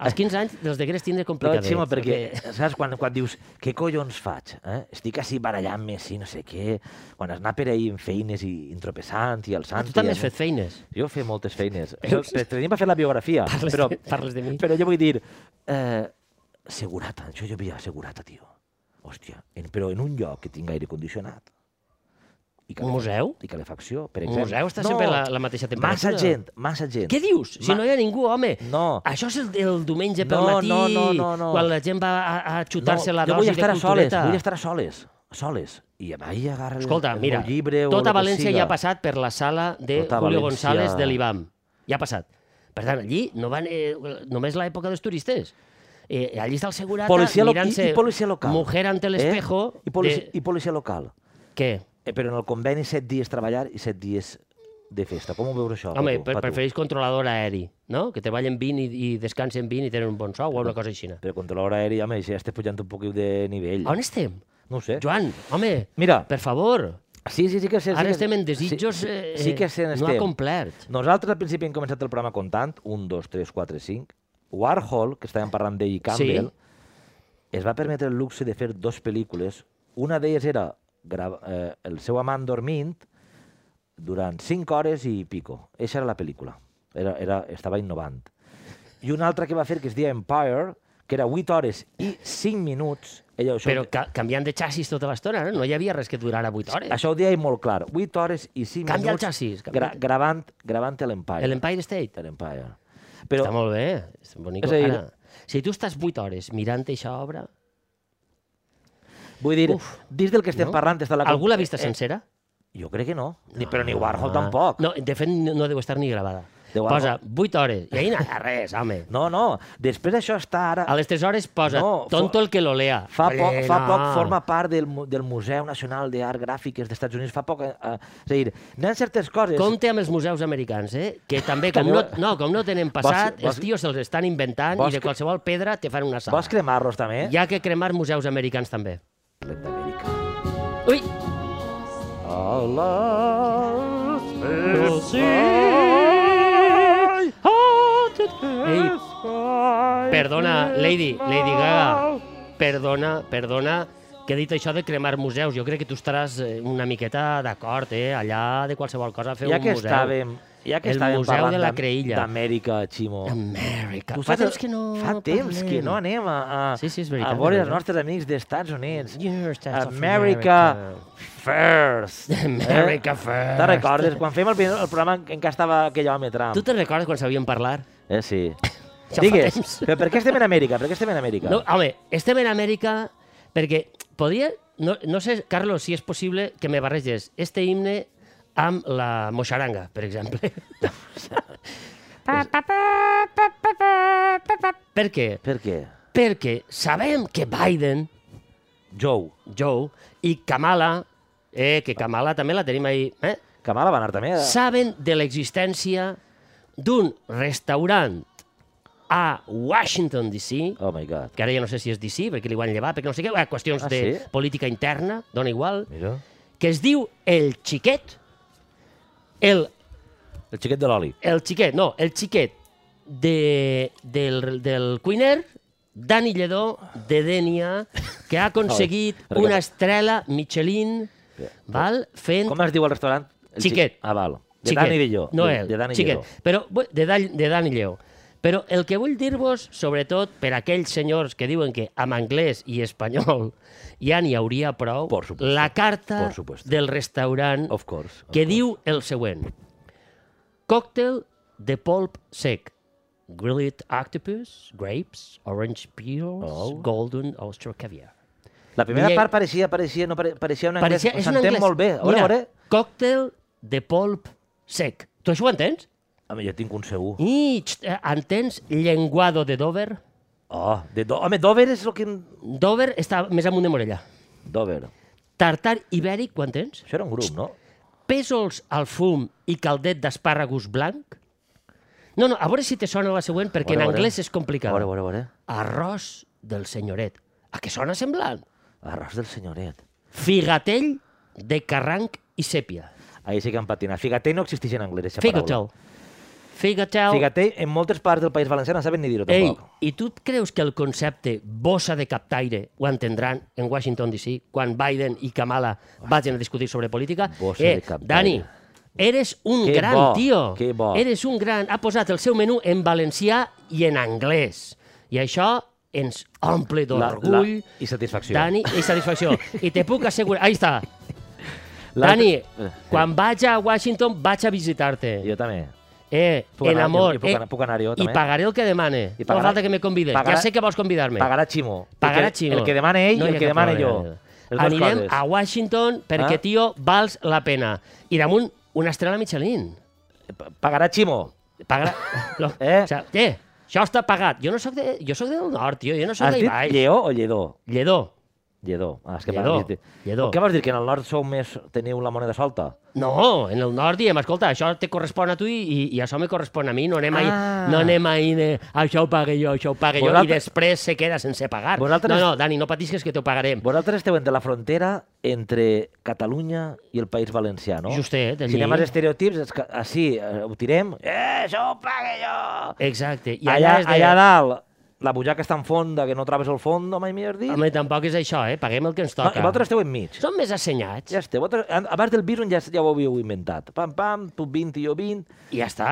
Als 15 anys dels degueres tindre No, complicadets. Ximo, perquè, saps, quan, quan dius, què collons faig? Eh? Estic així barallant-me, sí, no sé què, quan has anat per ahir en feines i entropeçant i Ah, alçant... tu també i- has fet feines. Jo he fet moltes feines. Veus? Però, tenim per fer la biografia. Parles però, de- parles de mi. Però jo vull dir... Eh, segurata, això jo havia segurata, tio. Hòstia, en, però en un lloc que tinc aire condicionat. I Un museu? I calefacció, per Un exemple. museu està sempre la- la mateixa Massa temperatura. gent, massa gent. Què dius? Si Ma- no hi ha ningú, home. No. Això és el, el diumenge pel No, matí, no, no, no, no. quan la gent va a, a xutar-se la jo dosi vull estar de a soles, cultureta. vull estar a soles, soles. I ahir agarra el- Escolta, el, mira, meu llibre o tota el que València siga. ja ha passat per la sala de Tota Julio València. González de l'IBAM. Ja ha passat. Per tant, allí no van, eh, només l'època dels turistes. Eh, allí està el segurata Policia lo- i, mirant-se i policia local. Mujer ante el espejo. Eh? I, policia, De... I policia local. Què? Eh, però en el conveni, set dies treballar i set dies de festa. Com ho veus això? Home, Ah, tu, per, tu? prefereix controlador aeri, no? Que treballen 20 i, i descansen 20 i tenen un bon sou o una cosa així. Però controlador aeri, home, si ja estàs pujant un poc de nivell. On estem? No ho sé. Joan, home, Mira. per favor, Sí, sí, sí que és cert. ara sí que... estem en desitjos sí, eh, sí, sí que és cert, no estem. acomplert. Nosaltres al principi hem començat el programa comptant, 1, 2, 3, 4, 5. Warhol, que estàvem parlant d'ell i Campbell, sí. es va permetre el luxe de fer dos pel·lícules. Una d'elles era grava, eh, El seu amant dormint durant 5 hores i pico. Eixa era la pel·lícula. Era, era, estava innovant. I una altra que va fer, que es deia Empire, que era 8 hores i 5 minuts. Ella, això, Però ca canviant de xassis tota l'estona, no? no hi havia res que durara 8 hores. això ho deia molt clar. 8 hores i 5 Canvia el minuts xassis, canvia. gra gravant, gravant l'Empire. L'Empire State. de l'Empire. Però... Però, Està molt bé, és bonic. És És a dir- Ara, si tu estàs 8 hores mirant aquesta obra... vull dir, Uf. dins del que estem no? parlant... Està la... Algú l'ha vista sencera? Ah. Jo crec que no, ni, però ni Warhol tampoc. No, de fet, no no deu estar ni gravada. De Warhol. Posa 8 hores, i ahí no hi ha res, home. No, no, després això està ara... A les 3 hores posa No, no, fa- tonto el que l'olea. Fa, Ole, poc, fa no. poc forma part del, mu- del Museu Nacional d'Art Gràfiques dels Estats Units. Fa poc... Eh, eh, és a dir, n'hi ha certes coses... Compte amb els museus americans, eh? Que també, com També- no, no, com no tenen passat, vols- els tios se'ls estan inventant vols i de que- qualsevol pedra te fan una sala. Vols cremar-los també? Hi ha que cremar museus americans, també. Parlem d'Amèrica. Ui! A les Ei, perdona, Lady, Lady Gaga, perdona, perdona, que he dit això de cremar museus. Jo crec que tu estaràs eh, una miqueta d'acord, eh? Allà de qualsevol cosa fer Ja un que museu. estàvem... Ja que El estàvem Museu de parlant la d'Am- Creïlla. D'Amèrica, Ximo. Amèrica. Fa Nosaltres temps que no Fa temps que no anem a, a, Sí, sí, és veritat, a veure és els veritat. nostres amics dels Estats Units. Yes, that's of America America. first. America Eh? Te first. recordes? Quan fem el, primer- el programa en- en què estava aquell home Trump? Tu te'n recordes quan sabíem parlar? Eh, sí. Ja fa Digues, temps. però per què estem en Amèrica? Per què estem en Amèrica? No, home, estem en Amèrica perquè podria... No, no sé, Carlos, si és possible que me barreges este himne amb la moixaranga, per exemple. per què? Per què? Perquè sabem que Biden, Joe. Joe, i Kamala, eh, que Kamala també la tenim ahir, eh, Kamala va anar també. a- saben de l'existència d'un restaurant a Washington, D.C., Oh my God. que ara ja no sé si és DC, perquè li van llevar, perquè no sé què, eh, qüestions Ah, de sí? política interna, dona igual, Mira. que es diu El Xiquet, el, El xiquet de l'oli. el xiquet, no, el xiquet de, del, del cuiner Dani Lledó, de Dènia, que ha aconseguit Joder, una estrela Michelin, val? fent Com es diu el restaurant? El Chi- Xiquet. Ah, val. De Xiquet. Dani Dilló. No de, ell, de Dani Xiquet. Dilló. Però, bu- de, Dall- de Dani Lleó. Però el que vull dir-vos, sobretot per aquells senyors que diuen que amb anglès i espanyol ja n'hi hauria prou, Por supuesto. la carta Por supuesto. del restaurant Of course. of que course. diu el següent. Còctel de polp sec. Grilled octopus, grapes, orange peels, Oh. golden oyster caviar. La primera Miguel- part pareixia, pareixia, no pare- pareixia un anglès. Pareixia, és un S'entén anglès. molt bé. A veure, a veure. còctel de polp sec. Tu això ho entens? Home, jo tinc un segur. I xt, eh, entens llenguado de Dover? Oh, de do... Home, Dover és el que... em- Dover està més amunt de Morella. Dover. Tartar ibèric, quan tens? Això era un grup, no? Pèsols al fum i caldet d'espàrregus blanc? No, no, a veure si te sona la següent, A perquè veure, a en veure. anglès és A complicat. veure, a veure, a veure. Arròs del senyoret. A què sona semblant? Arròs del senyoret. Figatell de carranc i sèpia. Ahir sí que han patinat. Figatell no existeix en anglès, aquesta Figatell. Figatell. paraula. Figatell, en moltes parts del País Valencià no saben ni dir-ho, Ei, tampoc. i tu et creus que el concepte bossa de captaire ho entendran en Washington DC quan Biden i Kamala vagin a discutir sobre política? Bossa de eh, captaire. Dani, eres un Que gran bo, tio. que bo. Eres un gran... Ha posat el seu menú en valencià i en anglès. I això ens omple d'orgull. i satisfacció. doncs Dani, i satisfacció. I te puc assegurar... Ahí està. Dani, quan vaig a Washington vaig a visitar-te. Eh, Jo també. Eh, Puc en anar, jo- amor. jo puc eh, anar- puc anar jo, I també. pagaré el que demane. I no pagarà- falta que me convides. pagarà- Ja sé que vols convidar-me. Pagarà Ximo. Pagarà El que- Ximo. El que demana ell No hi i ha el que cap demane jo. problema. Les dues Anirem coses. a Washington perquè, Ah. tio, vals la pena. I damunt, una estrella Michelin. Pa- Pagarà Ximo. Pagarà... Lo... Eh? O sigui, eh? Això està pagat. Jo no soc, de... jo soc del nord, tio. Jo no soc Has d'ahí dit baix. lleó o lledó? Lledó. Lledó. Ah, és que Lledó, m'has dit- lledó. Què vols dir, que en el nord sou més... teniu la moneda solta? No, en el nord diem, escolta, això te correspon a tu i, i, i això me correspon a mi, no anem, ah. Ah. a, no anem a ir, eh, això ho pague jo, això ho pague jo, i Vosaltres- després se queda sense pagar. Vosaltres- No, no, Dani, no patisques que te ho pagarem. Vosaltres esteu entre la frontera entre Catalunya i el País Valencià, no? Justet, allí. Si anem als estereotips, és que així eh, ho tirem. Eh, això ho pague jo! Exacte. I I allà, allà, allà, és de... allà dalt, la butxaca és tan fonda que no trobes el fons, mai millor dit. Home, tampoc és això, eh? Paguem el que ens No, toca. I vosaltres esteu enmig. Som més assenyats. Ja esteu. Vosaltres, an- abans del virus ja, ja ho havíeu inventat. Pam, pam, tu 20 i jo 20. I ja està.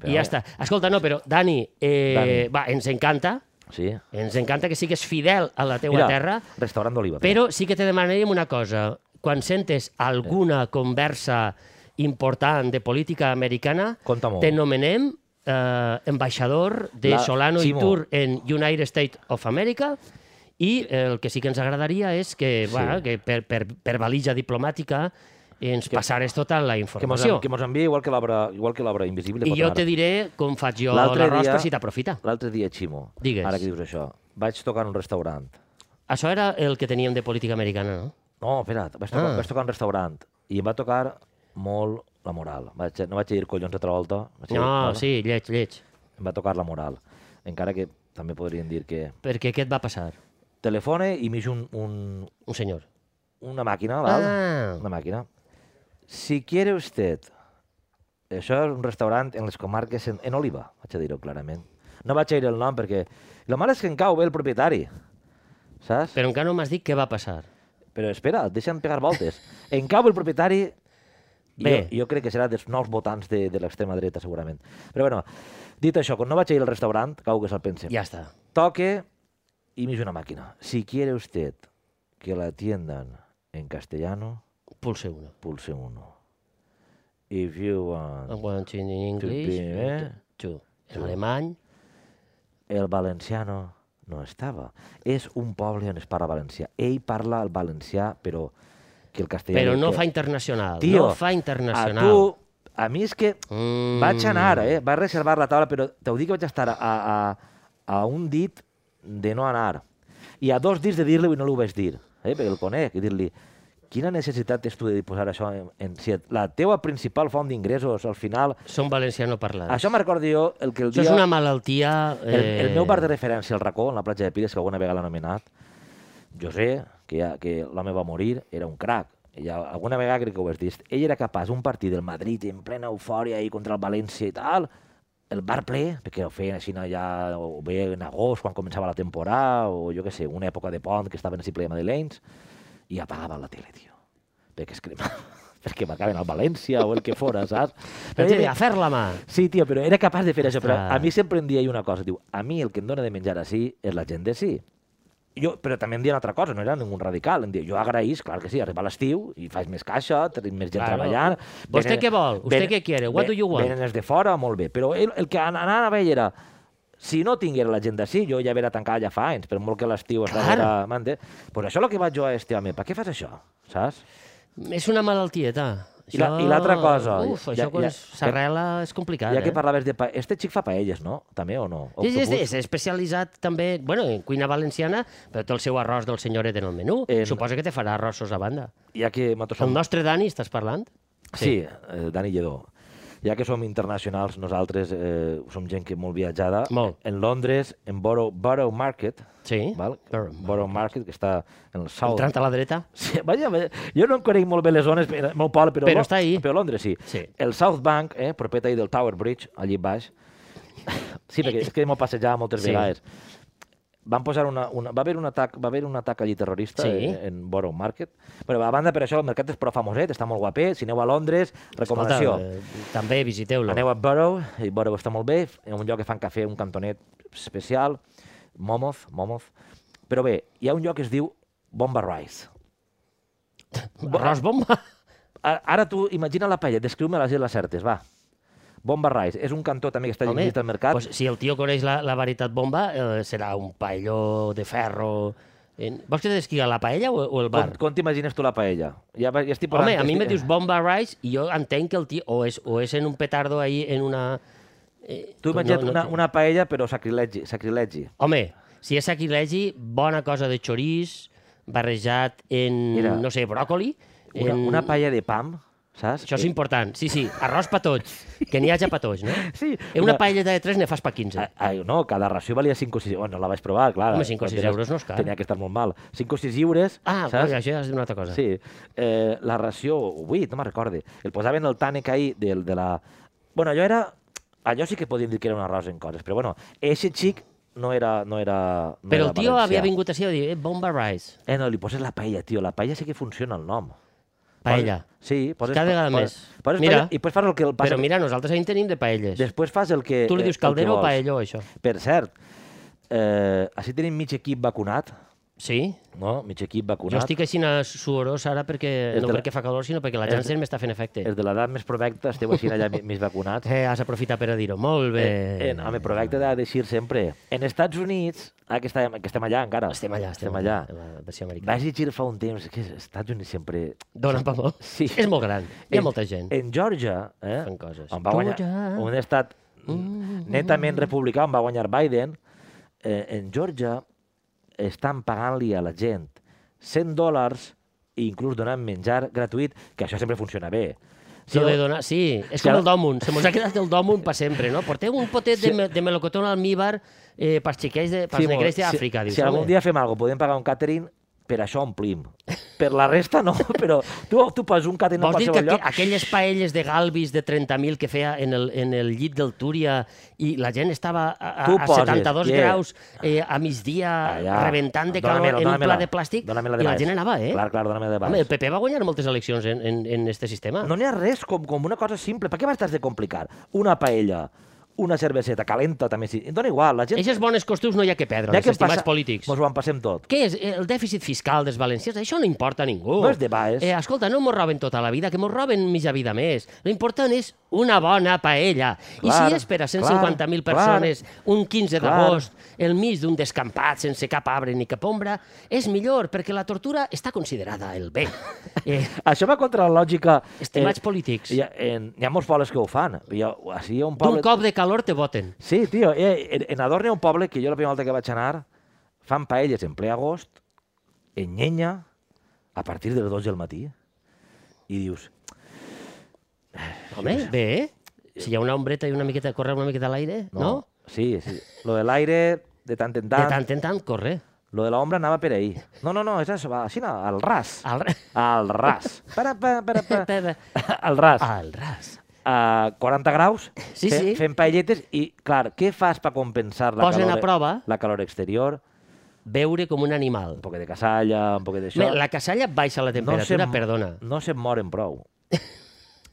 Però- I ja està. Escolta, no, però, Dani, eh, Dani, Dani. va, ens encanta, Sí. ens encanta que sigues fidel a la teua terra, restaurant d'Oliva. però sí que te demanaríem una cosa. Quan sentes alguna conversa important de política americana, Conta molt. te nomenem eh, ambaixador de La- Solano Ximo. i Tour en United States of America i eh, el que sí que ens agradaria és que, sí. va, que per, per, per valija diplomàtica ens passares tota la que mos, informació. que mos envia igual que l'obra igual que l'obra invisible. I pot jo anar. te diré com faig jo la L'altre rostra dia- si t'aprofita. L'altre dia, Ximo, Digues. ara que dius això, vaig tocar en un restaurant. Això era el que teníem de política americana, no? No, espera, vaig tocar, Ah. ah. vaig tocar en un restaurant i em va tocar molt la moral. Vaig, no vaig dir collons altra volta. Vaig dir, No, "Hola". sí, lleig, lleig. Em va tocar la moral. Encara que també podrien dir que Perquè què et va passar, telefone i mig un, un, un senyor? una màquina, val? Ah. Una màquina. Si quiere usted... Això és un restaurant en les comarques, en, en Oliva, vaig a dir-ho clarament. No vaig a dir el nom perquè... Lo mal és que em cau bé el propietari, saps? Però, Però encara no m'has dit què va passar. Però espera, deixa'm pegar voltes. Em cau bé el propietari... Bé. Bé. Jo, jo crec que serà dels nous votants de, de l'extrema dreta, segurament. Però bueno, dit això, quan no vaig a ir al restaurant, cau que se'l pense. Ja està. toque y me hizo una máquina. Si quiere usted que la atiendan en castellano, Pulse una. pulse 1. If you want One in English, bé. two. En alemany, el valenciano, no estava. És un poble on es parla valencià. Ell parla el valencià, però que el castellà... però diu no que... fa internacional. Tio, no fa A internacional. tu, a mi és que Mm. vaig anar, eh? Vaig reservar la taula, però t'ho dic que vaig estar a, a, a un dit de no anar. I a dos dits de dir-li i no li ho vaig dir, eh? perquè el conec, i dir-li quina necessitat tens tu de posar això en, en si et- la teua principal font d'ingressos al final... Són valenciano parlants. Això me'n recordo jo el que el Això dia... és una malaltia... eh, El, el meu bar de referència, el racó, en la platja de Pires, que alguna vegada l'ha anomenat, José, que, ja, que l'home va morir, era un crac. Ja, alguna vegada crec que ho has dit. Ell era capaç, un partit del Madrid en plena eufòria i contra el València i tal, el bar ple, perquè ho feien així no, ja o bé en agost, quan començava la temporada, o jo què sé, una època de pont que estaven així ple de madrilenys, i apagava la tele, tio. Perquè es cremava, perquè m'acaben al València o el que fora, saps? Però era- a fer-la mà. Sí, tio, però era capaç de fer això. Però Ostres. a mi sempre em deia una cosa, diu, a mi el que em dóna de menjar així és la gent de sí. Jo, però també em deia una altra cosa, no era ningú radical. Em deia, jo agraïs, clar que sí, arriba l'estiu i faig més caixa, tenim més gent Claro. treballant. Vostè què vol? Vostè què quiere? What ven- do you want? Venen els de fora, molt bé. Però el, el que an- anava a veure era, si no tinguera la gent d'ací, jo ja vera tancada ja fa anys, per molt que l'estiu Clar. estava... Claro. Pues això és el que vaig jo a este home. Per què fas això? Saps? És una malaltieta. I la- i l'altra cosa, Uf, ja- això ja- quan ja- s'arrela és complicat, ja que eh? parlaves de... Pa... Este xic fa paelles, no? També o no? Sí, sí, és, Octopus. és especialitzat també bueno, en cuina valenciana, però té el seu arròs del senyoret en el menú. En- Suposa que te farà arrossos a banda. Ja que nosaltres som El nostre Dani, estàs parlant? Sí, eh, Dani Lledó. Ja que som internacionals, nosaltres eh, som gent que molt viatjada. Molt. En Londres, en Borough, Borough Market, Sí. val? Borough Borough Market, que està en el South. Entrant a la dreta. Sí, vaja, vaja, jo no en conec molt bé les zones, però- meu poble, però, Lo- Però està ahí. però Londres sí. Sí. El South Bank, eh, propietari del Tower Bridge, allí baix, sí, perquè és que m'ho passejava moltes Sí. sí. vegades, van posar una, una, va haver un atac, va haver un atac allí terrorista Sí. eh, en, Borough Market. Però a banda per això el mercat és prou famoset, està molt guapet, si aneu a Londres, recomanació. Escolta, eh, també visiteu-lo. Aneu a Borough, i Borough està molt bé, en un lloc que fan cafè, un cantonet especial, Momoth, Momoth. Però bé, hi ha un lloc que es diu Bomba Rice. Arròs bomba. Ara, ara tu imagina la paella, descriu-me les i les certes, va. Bomba Rice, és un cantó també que està Home, llunyit al mercat. Pues, si el tio coneix la, la veritat bomba, eh, serà un paelló de ferro... En... Vols que te descrigui la paella o, o el com, bar? com t'imagines tu la paella? Ja, va- ja estic Home, a mi estic- me dius bomba rice i jo entenc que el tio o és, o és en un petardo ahí en una... Eh, Tu imagina't no, no- una, una paella, però sacrilegi, sacrilegi. Home, si és sacrilegi, bona cosa de xorís barrejat en, Mira. no sé, bròcoli. Una, en... una paella de pam, saps? Això és important. Sí, sí, arròs per tots. Que n'hi haja per tots, no? Sí, En una una- paelleta de 3 ne fas per 15. Ah, ah, no, cada ració valia 5 o 6... Bueno, la vaig provar, clar. Home, cinc o quan sis tenies- euros no és car. Tenia que estar molt mal. 5 o 6 lliures, Ah, saps? coi, això ja és una altra cosa. Sí. Eh, la ració, o 8, no me'n recorde. El posaven el tànec ahí del, de la... Bueno, allò era... Allò sí que podíem dir que era un arròs en coses, però bueno, eixe xic no era... No era no era Però el tio valencià. havia vingut així i va dir, eh, bomba rice. Eh, no, li poses la paella, tio. La paella sí que funciona el nom. Paella. Poses- Sí, poses... Cada pa- vegada poses- més. Poses Mira. mira, paella i després fas el que el passa. Però mira, nosaltres ahir en tenim de paelles. Després fas el que... tu li eh, dius el que caldero o vols. paelló, això? Per cert, eh, així tenim mig equip vacunat, Sí? no? Mig equip Jo vacunat. estic així a suorós ara perquè, És no de la- perquè fa calor, sinó perquè la és de- Janssen m'està fent efecte. Els de l'edat més provecta esteu així allà mi- mig vacunats. Eh, has aprofitat per a dir-ho. Molt bé. Eh, eh, home, provecta de deixir sempre. En Estats Units, ah, que estem, que estem allà encara. Estem allà, estem, estem allà. en La versió americana. Vaig llegir fa un temps que els Estats Units sempre... Dona pa molt. Sí. És molt gran. Hi ha molta gent. En Georgia, eh, Fan coses. on va guanyar Georgia. Mm. un estat netament republicà, on va guanyar Biden, eh, en Georgia estan pagant-li a la gent 100 dòlars i inclús donant menjar gratuït, que això sempre funciona bé. Sí, de no- donar... sí, és Si com ara- el dòmun. Se mos ha quedat el dòmun per sempre, no? Porteu un potet de, me- de melocotón al míbar eh, pels xiquets, de, pels mo- negrets d'Àfrica. Si, dius, si algun home. dia fem alguna cosa, podem pagar un catering, per això omplim. Per la resta no, però tu, tu poses un catering a Vols dir que qualsevol aqu lloc... aquelles paelles de Galvis de 30.000 que feia en el, en el llit del Túria i la gent estava a, a, Tu a poses, 72 yeah. graus eh, a migdia Allà. rebentant de Dóna-me-la, calor en un dóna-me-la. pla de plàstic Dóna-me-la de i la baix. gent anava, eh? Clar, clar, dóna-me de baix. Home, el PP va guanyar moltes eleccions en, en, en este sistema. No n'hi ha res com, com una cosa simple. Per què m'estàs de complicar? Una paella, una cerveseta calenta, també sí. Dóna igual, la gent... Eixes bones costums no hi ha que perdre, Ja els Doncs estimats polítics. Mos ho empassem tot. Què és Eh, el dèficit fiscal dels valencians? Això no importa a ningú. No és de baix. Eh, escolta, no mos roben tota la vida, que mos roben mitja vida més. L'important és una bona paella. I Clar, si és per a 150.000 clar, persones, un clar. 15 d'agost, el mig d'un descampat sense cap arbre ni cap ombra, és millor, perquè la tortura està considerada el bé. Eh, Això va contra la lògica... eh, estimats polítics, Hi ha, en, hi ha molts pobles que ho fan. Hi ha, així hi ha un d'un poble... cop de calor te voten. Sí, tio, eh, en- en Adorn hi ha un poble que jo la primera volta que vaig anar fan paelles en ple agost, en llenya, a partir de les 12 del matí. I dius, Home, bé, eh? Si hi ha una ombreta i una miqueta, corre una miqueta a l'aire, no, no? sí, sí. Lo de l'aire, de tant en tant, De tant en tant, corre. lo de l'ombra anava per ahí. No, no, no, és això, va, així, no, al ras. Al... ra- Al ras. Para, para, para, para. Al Al ras. ras. a 40 graus, Ah. Sí, fe- sí. fent paelletes, i, clar, què fas per compensar la Posen a calor, prova. la calor exterior? Veure com un animal. Un poquet de casalla, un poquet Bé, d'això... la casalla baixa la temperatura, se'n- perdona. No se'n moren prou.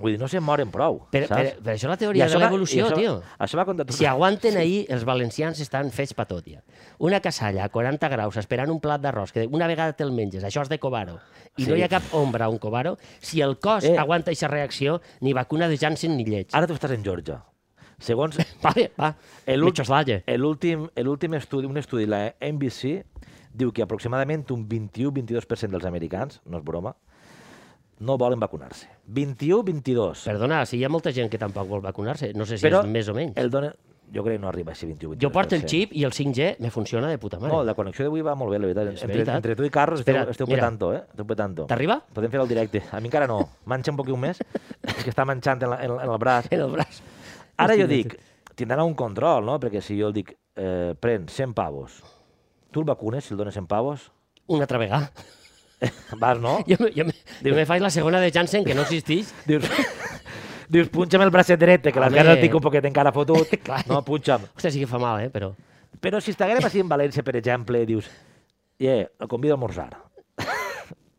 Vull dir, no se'n moren prou, Per, per, saps? per això la I teoria de va- l'evolució, i això, tio. Això va contra tot. Si aguanten ahir, els valencians estan fets pa tot, ja. Una casalla a 40 graus esperant un plat d'arròs, que una vegada te'l menges, això és de Covaro, i no Sí. hi ha cap ombra a un Covaro, si el cos Eh. aguanta aquesta reacció, ni vacuna de Janssen ni lleig. Ara tu estàs en Georgia. Segons Vale, va, El el ult- Mitxoslaye. l'últim l'últim estudi, un estudi de la NBC, diu que aproximadament un 21-22% dels americans, no és broma, no volen vacunar-se. 21-22. Perdona, si hi ha molta gent que tampoc vol vacunar-se, no sé si és més o menys. El donen... Jo crec que no arriba a ser 21 Jo porto el xip i el 5G me funciona de puta mare. No, Oh, la connexió d'avui va molt bé, la veritat. És Entre, veritat. entre tu i Carles Espera, esteu, esteu mira. petant-ho, eh? Esteu petant-ho. T'arriba? Podem fer el directe. A mi encara no. Manxa un poquet més, és que està manxant en, la, en, en el braç. En el braç. Ara jo dic, tindran un control, no? Perquè si jo dic, eh, pren 100 pavos, tu el vacunes si el dones 100 pavos? Una altra vegada. Vas, no? Jo, me- jo, me- jo me faig la segona de Janssen, que no existeix. Dius, dius punxa'm el bracet dret, que les Home. ganes el tinc un poquet encara fotut. Clar. no, punxa'm. Ostres, sí que fa mal, eh, però... Però si estiguem així en València, per exemple, dius, yeah, el convido a almorzar.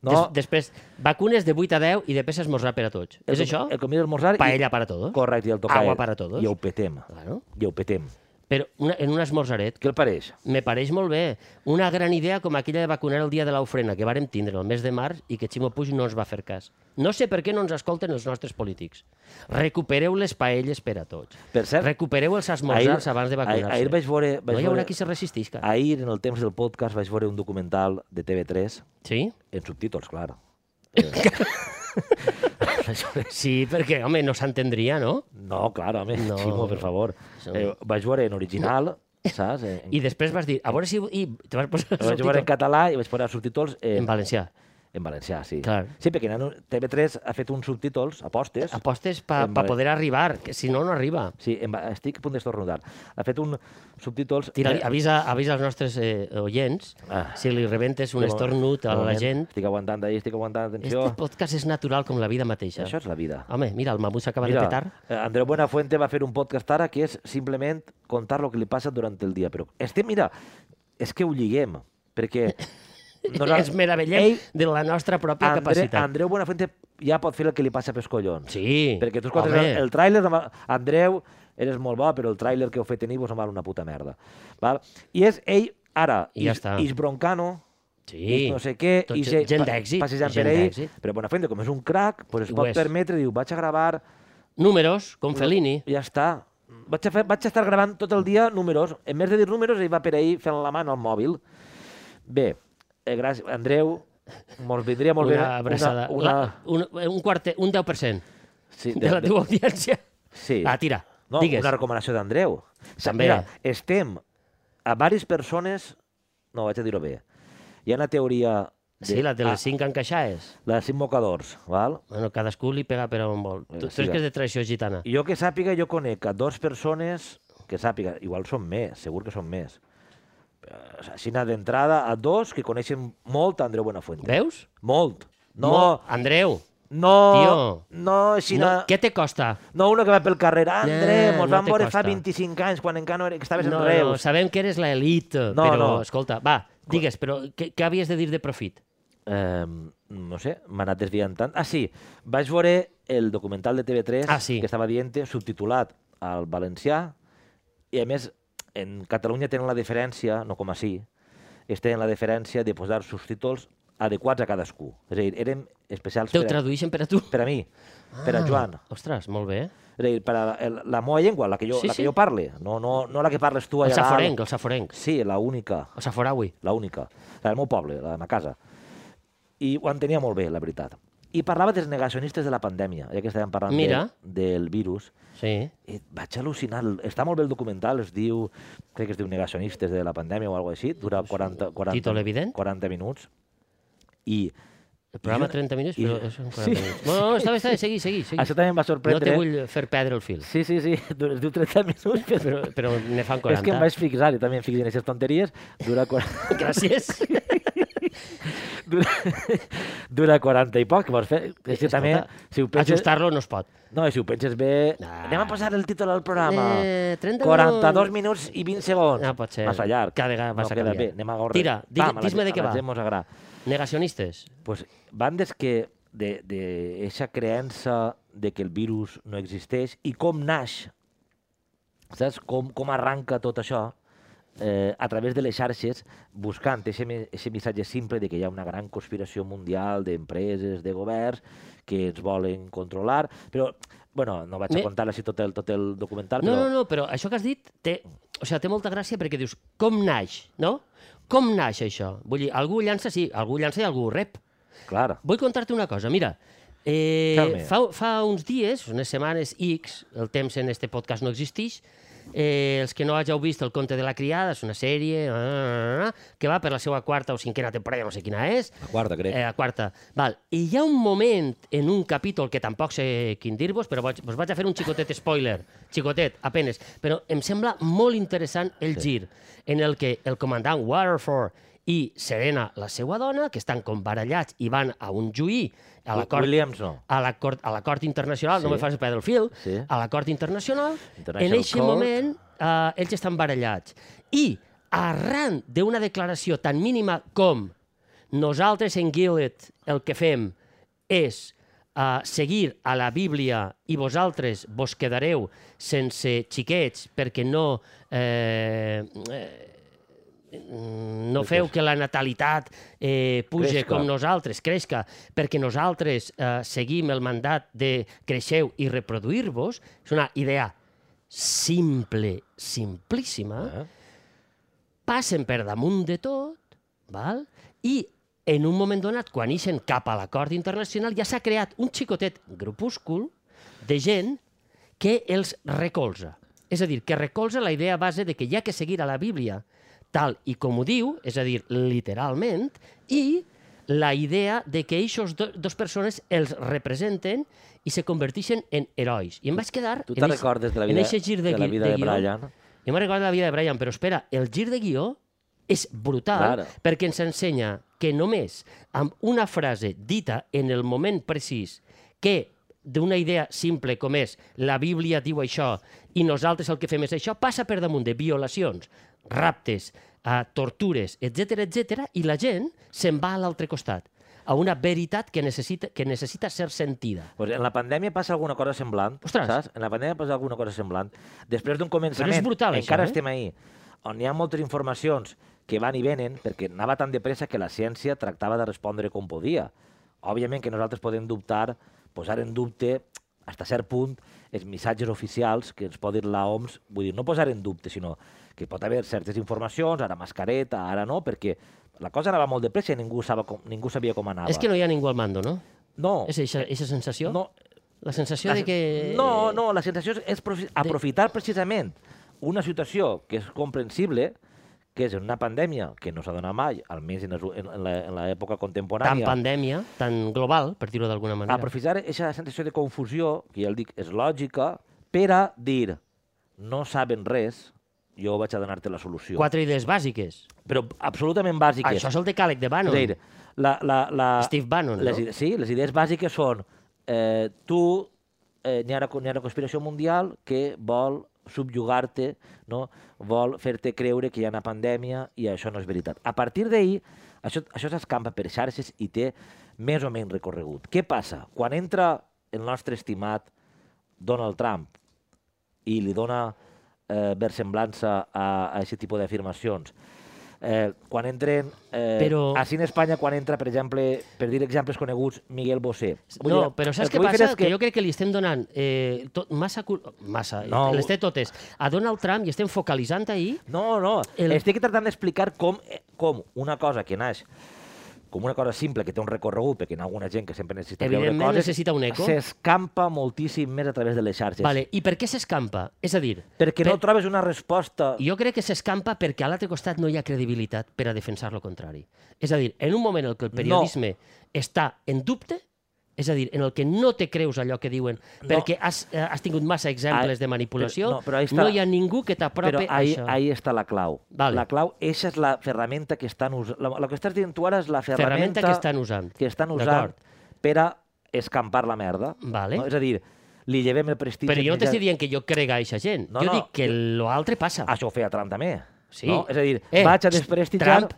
Des, No, després, vacunes de 8 a 10 i després esmorzar per a tots. És el, això? El convido a almorzar Paella para todos. Correcte, i el tocaet. Agua para todos. I ho petem. Claro. I ho petem. Però una, en un esmorzaret, Què el pareix? me pareix molt bé. Una gran idea com aquella de vacunar el dia de l'ofrena que vàrem tindre el mes de març i que Ximo Puig no ens va fer cas. No sé per què no ens escolten els nostres polítics. Recupereu les paelles per a tots. Per cert, Recupereu els esmorzars abans de vacunar-se. Ahir, ahir vaig veure... Vaig no hi veure, Ah. haurà qui se resistisca. Ahir, en el temps del podcast, vaig veure un documental de TV3 Sí? en subtítols, clar. Sí, perquè, home, no s'entendria, no? No, clar, home, No. no. Ximo, per favor. Sí. Eh, vaig veure en original, saps? Eh, En, I després vas dir, a veure si... I te vas posar el vaig veure en subtítol. català i vaig posar subtítols en, En valencià. en valencià, sí. Clar. Sí, perquè nano, TV3 ha fet uns subtítols, apostes, Apostes per En pa vale- poder arribar, que si no, no arriba. sí, en, va- estic a punt d'estornudar. Ha fet un subtítols... Tira, eh, avisa, avisa els nostres eh, oients Ah. si li rebentes un de moment- estornut de a la moment. gent. Estic aguantant d'ahir, estic aguantant, atenció. Este podcast és natural com la vida mateixa. Això és la vida. Home, mira, el mamut s'acaba de Mira, petar. eh, Andreu Buenafuente va fer un podcast ara que és simplement contar el que li passa durant el dia. Però este, mira, és que ho lliguem, perquè... Ens meravellem Ell, de la nostra pròpia Andre, capacitat. Andreu Buenafuente ja pot fer el que li passa pels collons. Sí, Perquè tu escoltes home. el, el tràiler, amb- Andreu, eres molt bo, però el tràiler que heu fet tenir vos em val una puta merda. Val? I és ell, ara, I ja Is- està. Is Broncano, Sí. i no sé què, Tot i gent- se, gent pa- d'èxit, passejant gent per ell, d'èxit. però Buenafuente, com és un crac, doncs Ho es pot és. permetre, diu, vaig a gravar Números, com Fellini. ja està. Vaig, a fer, vaig a estar gravant tot el dia números. En més de dir números, ell va per ahir fent la mà en el mòbil. Bé, eh, gràcies, Andreu. Mos vindria molt Una bé... eh? abraçada. Una, La- un, un, quarte, un 10% sí, de la teva audiència. Sí. Va, tira. No, Digues. una recomanació d'Andreu. També. També. Mira, estem a diverses persones... No, vaig a dir-ho bé. Hi ha una teoria... Sí, la de ah, les 5 encaixades. la de cinc mocadors, val? Bueno, cadascú li pega per on vol. Tu, Vinga, tu és que siga. és de traïció gitana. Jo que sàpiga, jo conec a dues persones que sàpiga, igual són més, segur que són més. Eh, Així na d'entrada, a dos que coneixen molt Andreu Buenafuente. Veus? Molt. No, Mo- Andreu, no, tio. no, així no, no, què te costa? no, una que va pel carrer. Andreu, No, mos no vam te veure fa costa. 25 anys, quan encara no era, que estaves en No, no, Reus. sabem que eres l'elit, No, però no. escolta, va, digues, però què, què havies de dir de profit? Eh, no sé, m'ha anat desviant tant. Ah, sí, vaig veure el documental de TV3 Ah, sí. que estava dient subtitulat al valencià i, a més, en Catalunya tenen la diferència, no com així, ells tenen la diferència de posar subtítols adequats a cadascú. És a dir, eren especials Te ho per a, tradueixen per a tu? per a mi, per Ah. a Joan. Ostres, molt bé. És a dir, per a la, el- la meva llengua, la que jo, Sí, la que sí. jo parle, no, no, no la que parles tu El allà. dalt. saforenc, el saforenc, Sí, la única el saforaui. la única, la del meu poble, la de ma casa. I ho entenia molt bé, la veritat. I parlava dels negacionistes de la pandèmia, ja que estàvem parlant Mira. De, del virus. Sí. I vaig al·lucinar. El- Està molt bé el documental, es diu, crec que es diu Negacionistes de la pandèmia o alguna cosa així, dura 40, 40, Títol evident. 40 minuts. I El programa I jo- 30 minuts, i però jo- són 40 sí. minuts. No, no, no, està bé, està bé, segui, segui. segui. això també eh? em va no sorprendre. te vull fer perdre el fil, Sí, sí, sí, du- es diu 30 minuts, però... però, però ne fan És que 40. em vaig fixar, i també em fixo en aquestes tonteries, dura 40... Gràcies. dura, dura 40 i poc. Vols fer? És que també, si ho penses... Ajustar-lo no es pot. No, i si ho penses bé... Nah. Anem a posar el títol al programa. Eh, 30 42 minuts. minuts i 20 segons. No pot ser. Massa llarg. Cada vegada vas no a queda canviar. bé. Anem a gorre. Tira, digue- Pam, a la dis-me gent- de què a la va. gent mos agrada. Negacionistes. pues, bandes que de, de esa creença de que el virus no existeix i com naix, saps? Com, com arranca tot això eh, a través de les xarxes buscant aquest missatge simple de que hi ha una gran conspiració mundial d'empreses, de governs que ens volen controlar, però bueno, no vaig Me- a contar així tot el, tot el documental, No, Ah, però no, no, però això que has dit té, o sigui, té molta gràcia perquè dius, com naix, no? Com naix això? Vull dir, algú llança, sí, algú llança i algú rep. clar, Vull contar-te una cosa, mira. Eh, Calme. fa, fa uns dies, unes setmanes X, el temps en este podcast no existeix, eh, els que no hàgiu vist El conte de la criada, és una sèrie ah, na, na, na, na, que va per la seva quarta o cinquena temporada, no sé quina és, la quarta, crec. eh, la quarta. Val. I hi ha un moment en un capítol que tampoc sé quin dir-vos, però vaig, us vaig a fer un xicotet spoiler. Xicotet, apenes. Però em sembla molt interessant el sí. gir en el que el comandant Waterford i Serena, la seva dona, que estan com barallats i van a un juí a la cort, Williams no. a la cort, a la cort internacional, sí. Sí. no me facis perdre el fil, Sí. a la cort internacional, International en aquest Court. moment eh, ells estan barallats. I arran d'una declaració tan mínima com nosaltres en Gilead el que fem és eh, seguir a la Bíblia i vosaltres vos quedareu sense xiquets perquè no eh, Mm, no feu que la natalitat eh, puja Cresca. com nosaltres, cresca, perquè nosaltres eh, seguim el mandat de creixeu i reproduir-vos, és una idea simple, simplíssima, Eh? passen per damunt de tot, val? i en un moment donat, quan ixen cap a l'acord internacional, ja s'ha creat un xicotet grupúscul de gent que els recolza. És a dir, que recolza la idea base de que hi ha que seguir a la Bíblia tal i com ho diu, és a dir, literalment, i la idea de que aquestes do, dos persones els representen i se converteixen en herois. I em vaig quedar... Tu en te'n eixe- recordes de la en vida eixe gir de, de la gui- vida de guió? Brian? Jo me'n recordo de la vida de Brian, però espera, el gir de guió és brutal Claro. perquè ens ensenya que només amb una frase dita en el moment precís que d'una idea simple com és la Bíblia diu això i nosaltres el que fem és això, passa per damunt de violacions, raptes, a tortures, etc etc i la gent se'n va a l'altre costat, a una veritat que necessita, que necessita ser sentida. Pues en la pandèmia passa alguna cosa semblant, Ostres. saps? En la pandèmia passa alguna cosa semblant. Després d'un és començament, brutal, això, encara eh? estem ahí, on hi ha moltes informacions que van i venen, perquè anava tan de pressa que la ciència tractava de respondre com podia. Òbviament que nosaltres podem dubtar, posar en dubte, fins a cert punt, els missatges oficials que ens pot dir l'OMS, vull dir, no posar en dubte, sinó que pot haver certes informacions, ara mascareta, ara no, perquè la cosa anava molt de pressa i ningú, saba com, ningú sabia com anava. És que no hi ha ningú al mando, no? Ah, no, És aquesta sensació? no, La sensació La- de que... No, no, la sensació és, és profi- aprofitar precisament una situació que és comprensible, que és una pandèmia que no s'ha donat mai, almenys en, les u- en, en la- en l'època Tan contemporània. pandèmia, tan global, per dir-ho d'alguna manera. Aprofitar aquesta sensació de confusió, que ja el dic, és lògica, per a dir no saben res, jo vaig a donar-te la solució. Quatre idees bàsiques. Però absolutament bàsiques. Això és el decàleg de Bannon. És a dir, la, la, la, Steve Bannon, Ah, les, no? ide- Sí, les idees bàsiques són eh, tu, eh, n'hi ha, una co- n'hi ha una conspiració mundial que vol subjugar-te, no? vol fer-te creure que hi ha una pandèmia i això no és veritat. A partir d'ahir, això, això s'escampa per xarxes i té més o menys recorregut. Què passa? Quan entra el nostre estimat Donald Trump i li dona eh, versemblança a, a aquest tipus d'afirmacions. Eh, quan entren... Eh, Però- Així en Espanya, quan entra, per exemple, per dir exemples coneguts, Miguel Bosé. Vull No, dir, però el saps que què vull fer passa? és Que... que jo crec que li estem donant eh, tot, massa... cul- Massa, No. no. les té totes. A Donald Trump i estem focalitzant ahir No, no, El- el... estic tractant d'explicar com, com una cosa que naix com una cosa simple que té un recorregut, perquè hi ha alguna gent que sempre necessita creure Evidentment, coses, necessita un eco. s'escampa moltíssim més a través de les xarxes. Vale, I per què s'escampa? És a dir, Perquè no Per- trobes una resposta... jo crec que s'escampa perquè a l'altre costat no hi ha credibilitat per a defensar lo contrari. És a dir, en un moment en què el periodisme no. està en dubte, És a dir, en el que no te creus allò que diuen, perquè has, eh, has tingut massa exemples Ah, de manipulació, però- no, però ahí no està- hi ha ningú que Però t'apropi a ahí, això. ahí está la clau. Vale. La clau, esa es la ferramenta que estan usant. El que estàs dient tu ara és la Ferramenta ferramenta, que estan usant. que estan usant D'acord. per a escampar la merda. Vale. No? És a dir, li llevem el prestigi... Però jo no mitjà- t'estic dient que jo crec a aquesta gent. No, jo no, dic que l'altre passa. Això ho feia Trump també. Sí. No? És a dir, eh, vaig a desprestigiar... Trump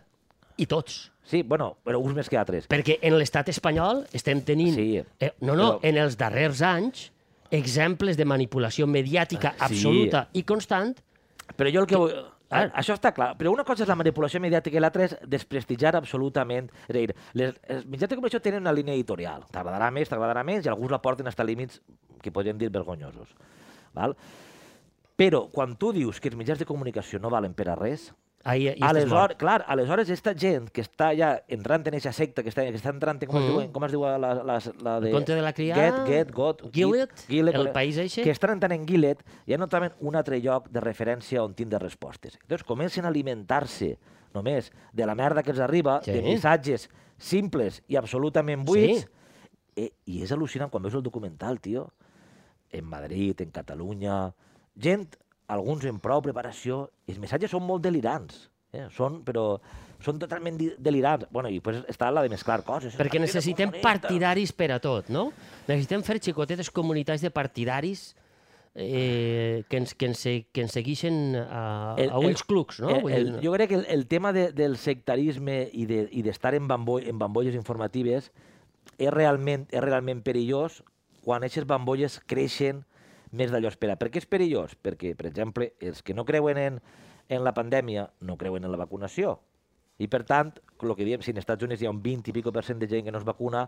i tots. Sí, bueno, però uns més que altres. Perquè en l'estat espanyol estem tenint... Sí, eh, no, no, però- però... en els darrers anys, exemples de manipulació mediàtica Ah, Sí. absoluta i constant Però jo el que... vull- Ah. Això està clar, però una cosa és la manipulació mediàtica i l'altra és desprestigiar absolutament. És a dir, les, els mitjans de comunicació tenen una línia editorial. T'agradarà més, t'agradarà menys, i alguns la porten fins a límits que podríem dir vergonyosos. Val? Però quan tu dius que els mitjans de comunicació no valen per a res, Ahí, i aleshores, clar, aleshores esta gent que està ja entrant en aquesta secta, que està, que està entrant, en, com, Mhm. es diu, com es diu la, la, la de... El conte de la criada, Get, get, got, Gillette, Gillette, el com- país eixe. Que estan entrant en Gillette i ja no troben un altre lloc de referència on tindre respostes. Llavors comencen a alimentar-se només de la merda que els arriba, Sí. de missatges simples i absolutament buits, Sí. Eh, I és al·lucinant quan veus el documental, tio. En Madrid, en Catalunya... Gent, alguns en prou preparació. i Els missatges són molt delirants. Eh? Són, però són totalment di- delirants. Bueno, i pues està la de mesclar coses. Perquè Partida necessitem comunista. partidaris per a tot, no? Necessitem fer xicotetes comunitats de partidaris eh, que, ens, que, ens, se- que ens segueixen a, El- a ulls el- clucs, no? Eh, Vull el, dir, jo crec que el, el tema de, del sectarisme i de- i d'estar de, en, bamboll, en bambolles informatives és realment, és realment perillós quan aquestes bambolles creixen més d'allò espera. Per què és perillós? Perquè, per exemple, els que no creuen en, en la pandèmia no creuen en la vacunació. I, per tant, el que diem, si en Estats Units hi ha un 20 i pico per cent de gent que no es vacuna,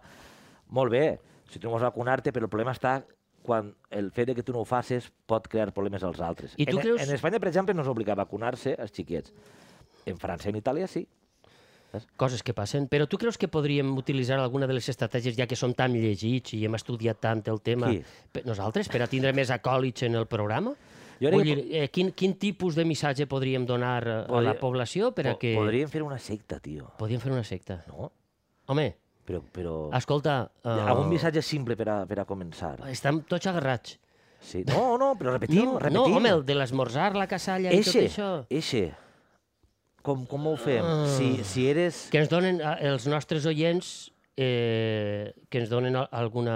molt bé, si tu no vols vacunar-te, però el problema està quan el fet de que tu no ho facis pot crear problemes als altres. I tu en, creus- en Espanya, per exemple, no és obligat a vacunar-se els xiquets. En França i en Itàlia sí. Coses que passen. Però tu creus que podríem utilitzar alguna de les estratègies, ja que som tan llegits i hem estudiat tant el tema, Qui? pe- nosaltres, per a tindre més acòlits en el programa? Jo Jo crec Vull que dir, eh, quin, quin tipus de missatge podríem donar eh, a la Podria- població per a Po- que... Podríem fer una secta, tio. Podríem fer una secta. No? Home, Però, però... escolta... Uh... Algun missatge simple per a, per a començar. Estem tots agarrats. Sí. No, no, però repetim, no, repetim. no, home, el de l'esmorzar, la casalla i tot Eixe, això. eixe. Com, com ho fem? Ah. Si, si eres... Que ens donen a- els nostres oients, eh, que ens donen a- alguna,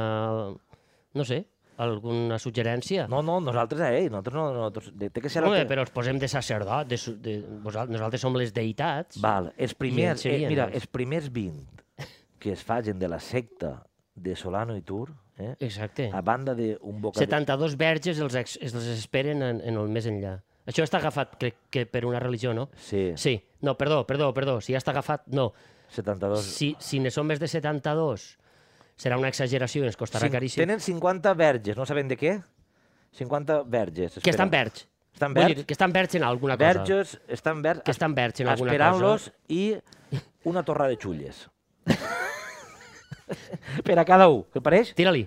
no sé, alguna suggerència. No, no, nosaltres a ell, nosaltres no... Nosaltres, té que ser... Home, però els posem de sacerdot, de, su- de, vosal- nosaltres som les deïtats. Val, els primers, eh, serien mira, els- els primers 20 que es facin de la secta de Solano i Tur, eh, Exacte. a banda d'un bocadillo... 72 verges els, ex, els esperen en, en el més enllà. Això està agafat, crec que per una religió, no? Sí, Sí, no, perdó, perdó, perdó, si ja està agafat, no. 72... Si, si ne són més de 72, serà una exageració i ens costarà Cin- caríssim. Tenen 50 verges, no saben de què? 50 verges. Que estan esperen. verds. Estan Vull verds? dir, que estan verds en alguna cosa. Verges, estan verds, Que estan verds en alguna esperant-los i una torra de xulles. per a cada un, que pareix? Tira-li.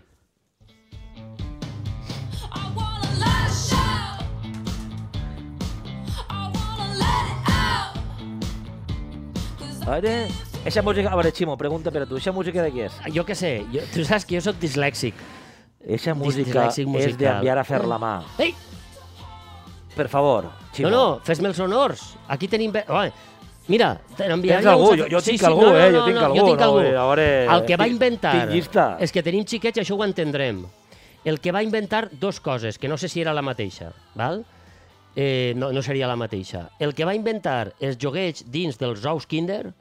I wanna let it shout. I wanna let it out. 'Cause I Ara, eixa música... A veure, Ximo, pregunta per a tu. Eixa música de què és? Jo què sé, jo, tu saps que jo sóc dislèxic. Eixa música dislèxic és musical. d'enviar a fer la mà. Ei, Per favor, no, Ximo. no, fes-me els honors. Aquí tenim... ve- Oh, mira, t'enviaré... Tens algú, uns- jo- jo tinc algú, eh, jo tinc algú, Jo tinc no, algú. eh, a veure, El que va tinc- inventar... tinc llista. És que tenim xiquets, això ho entendrem. El que va inventar dos coses, que no sé si era la mateixa, val? Eh, no, no seria la mateixa. El que va inventar els joguets dins dels ous kinder,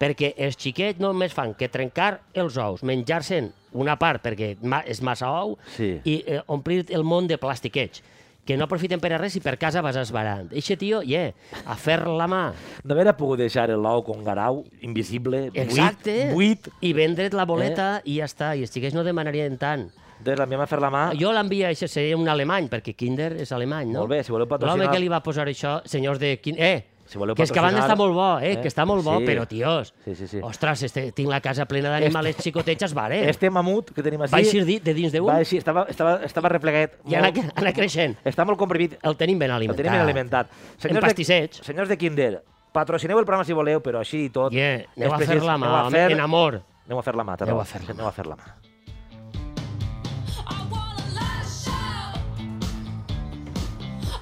perquè els xiquets només fan que trencar els ous, menjar-se'n una part perquè ma és massa ou Sí. i eh, omplir el món de plastiquets que no aprofiten per a res i per casa vas esbarant. Eixe tio, yeah, a fer la mà. No haver pogut deixar el ou con garau, invisible, buit, Exacte. buit. I vendre't la Eh? boleta i ja està. I els xiquets no demanarien tant. Entonces l'enviem a fer la mà. Jo l'envia, això seria un alemany, perquè Kinder és alemany, no? Molt bé, si voleu patrocinar- L'home que li va posar això, senyors de... Kin- Eh, Si voleu que és que abans patrocinar- està molt bo, eh, Eh? que està molt bo, Sí. però, tios, Sí, sí, sí. ostres, este, tinc la casa plena d'animals xicotets, vale. Este mamut que tenim Va així... eixir di- de dins d'un Va així, estava, estava, estava replegat. i anar, anar creixent. Està molt comprimit. El tenim ben El alimentat. tenim ben alimentat. En pastissets. De, senyors de Kinder, patrocineu el programa si voleu, però així i tot... Yeah, aneu a després fer la mà, aneu a home, en amor. Anem a fer la mà, Aneu Tarragó. a fer la Anem a fer la mà. I wanna let it shout.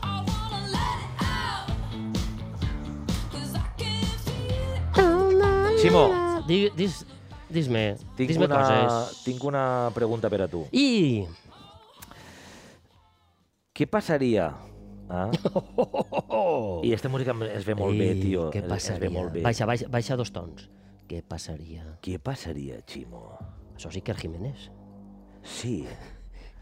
I wanna let it out. 'Cause I can feel it. Ximo, Di- Dis, dis-me, tinc dis-me una, coses. tinc una pregunta per a tu. I... Què passaria... Eh? Oh! I aquesta música em- es ve molt bé, Ei, tio. Què Es- passaria? Es ve molt bé. Baixa, baixa, baixa dos tons. Què passaria? Què passaria, Ximo? Això sí que és Jiménez. Sí.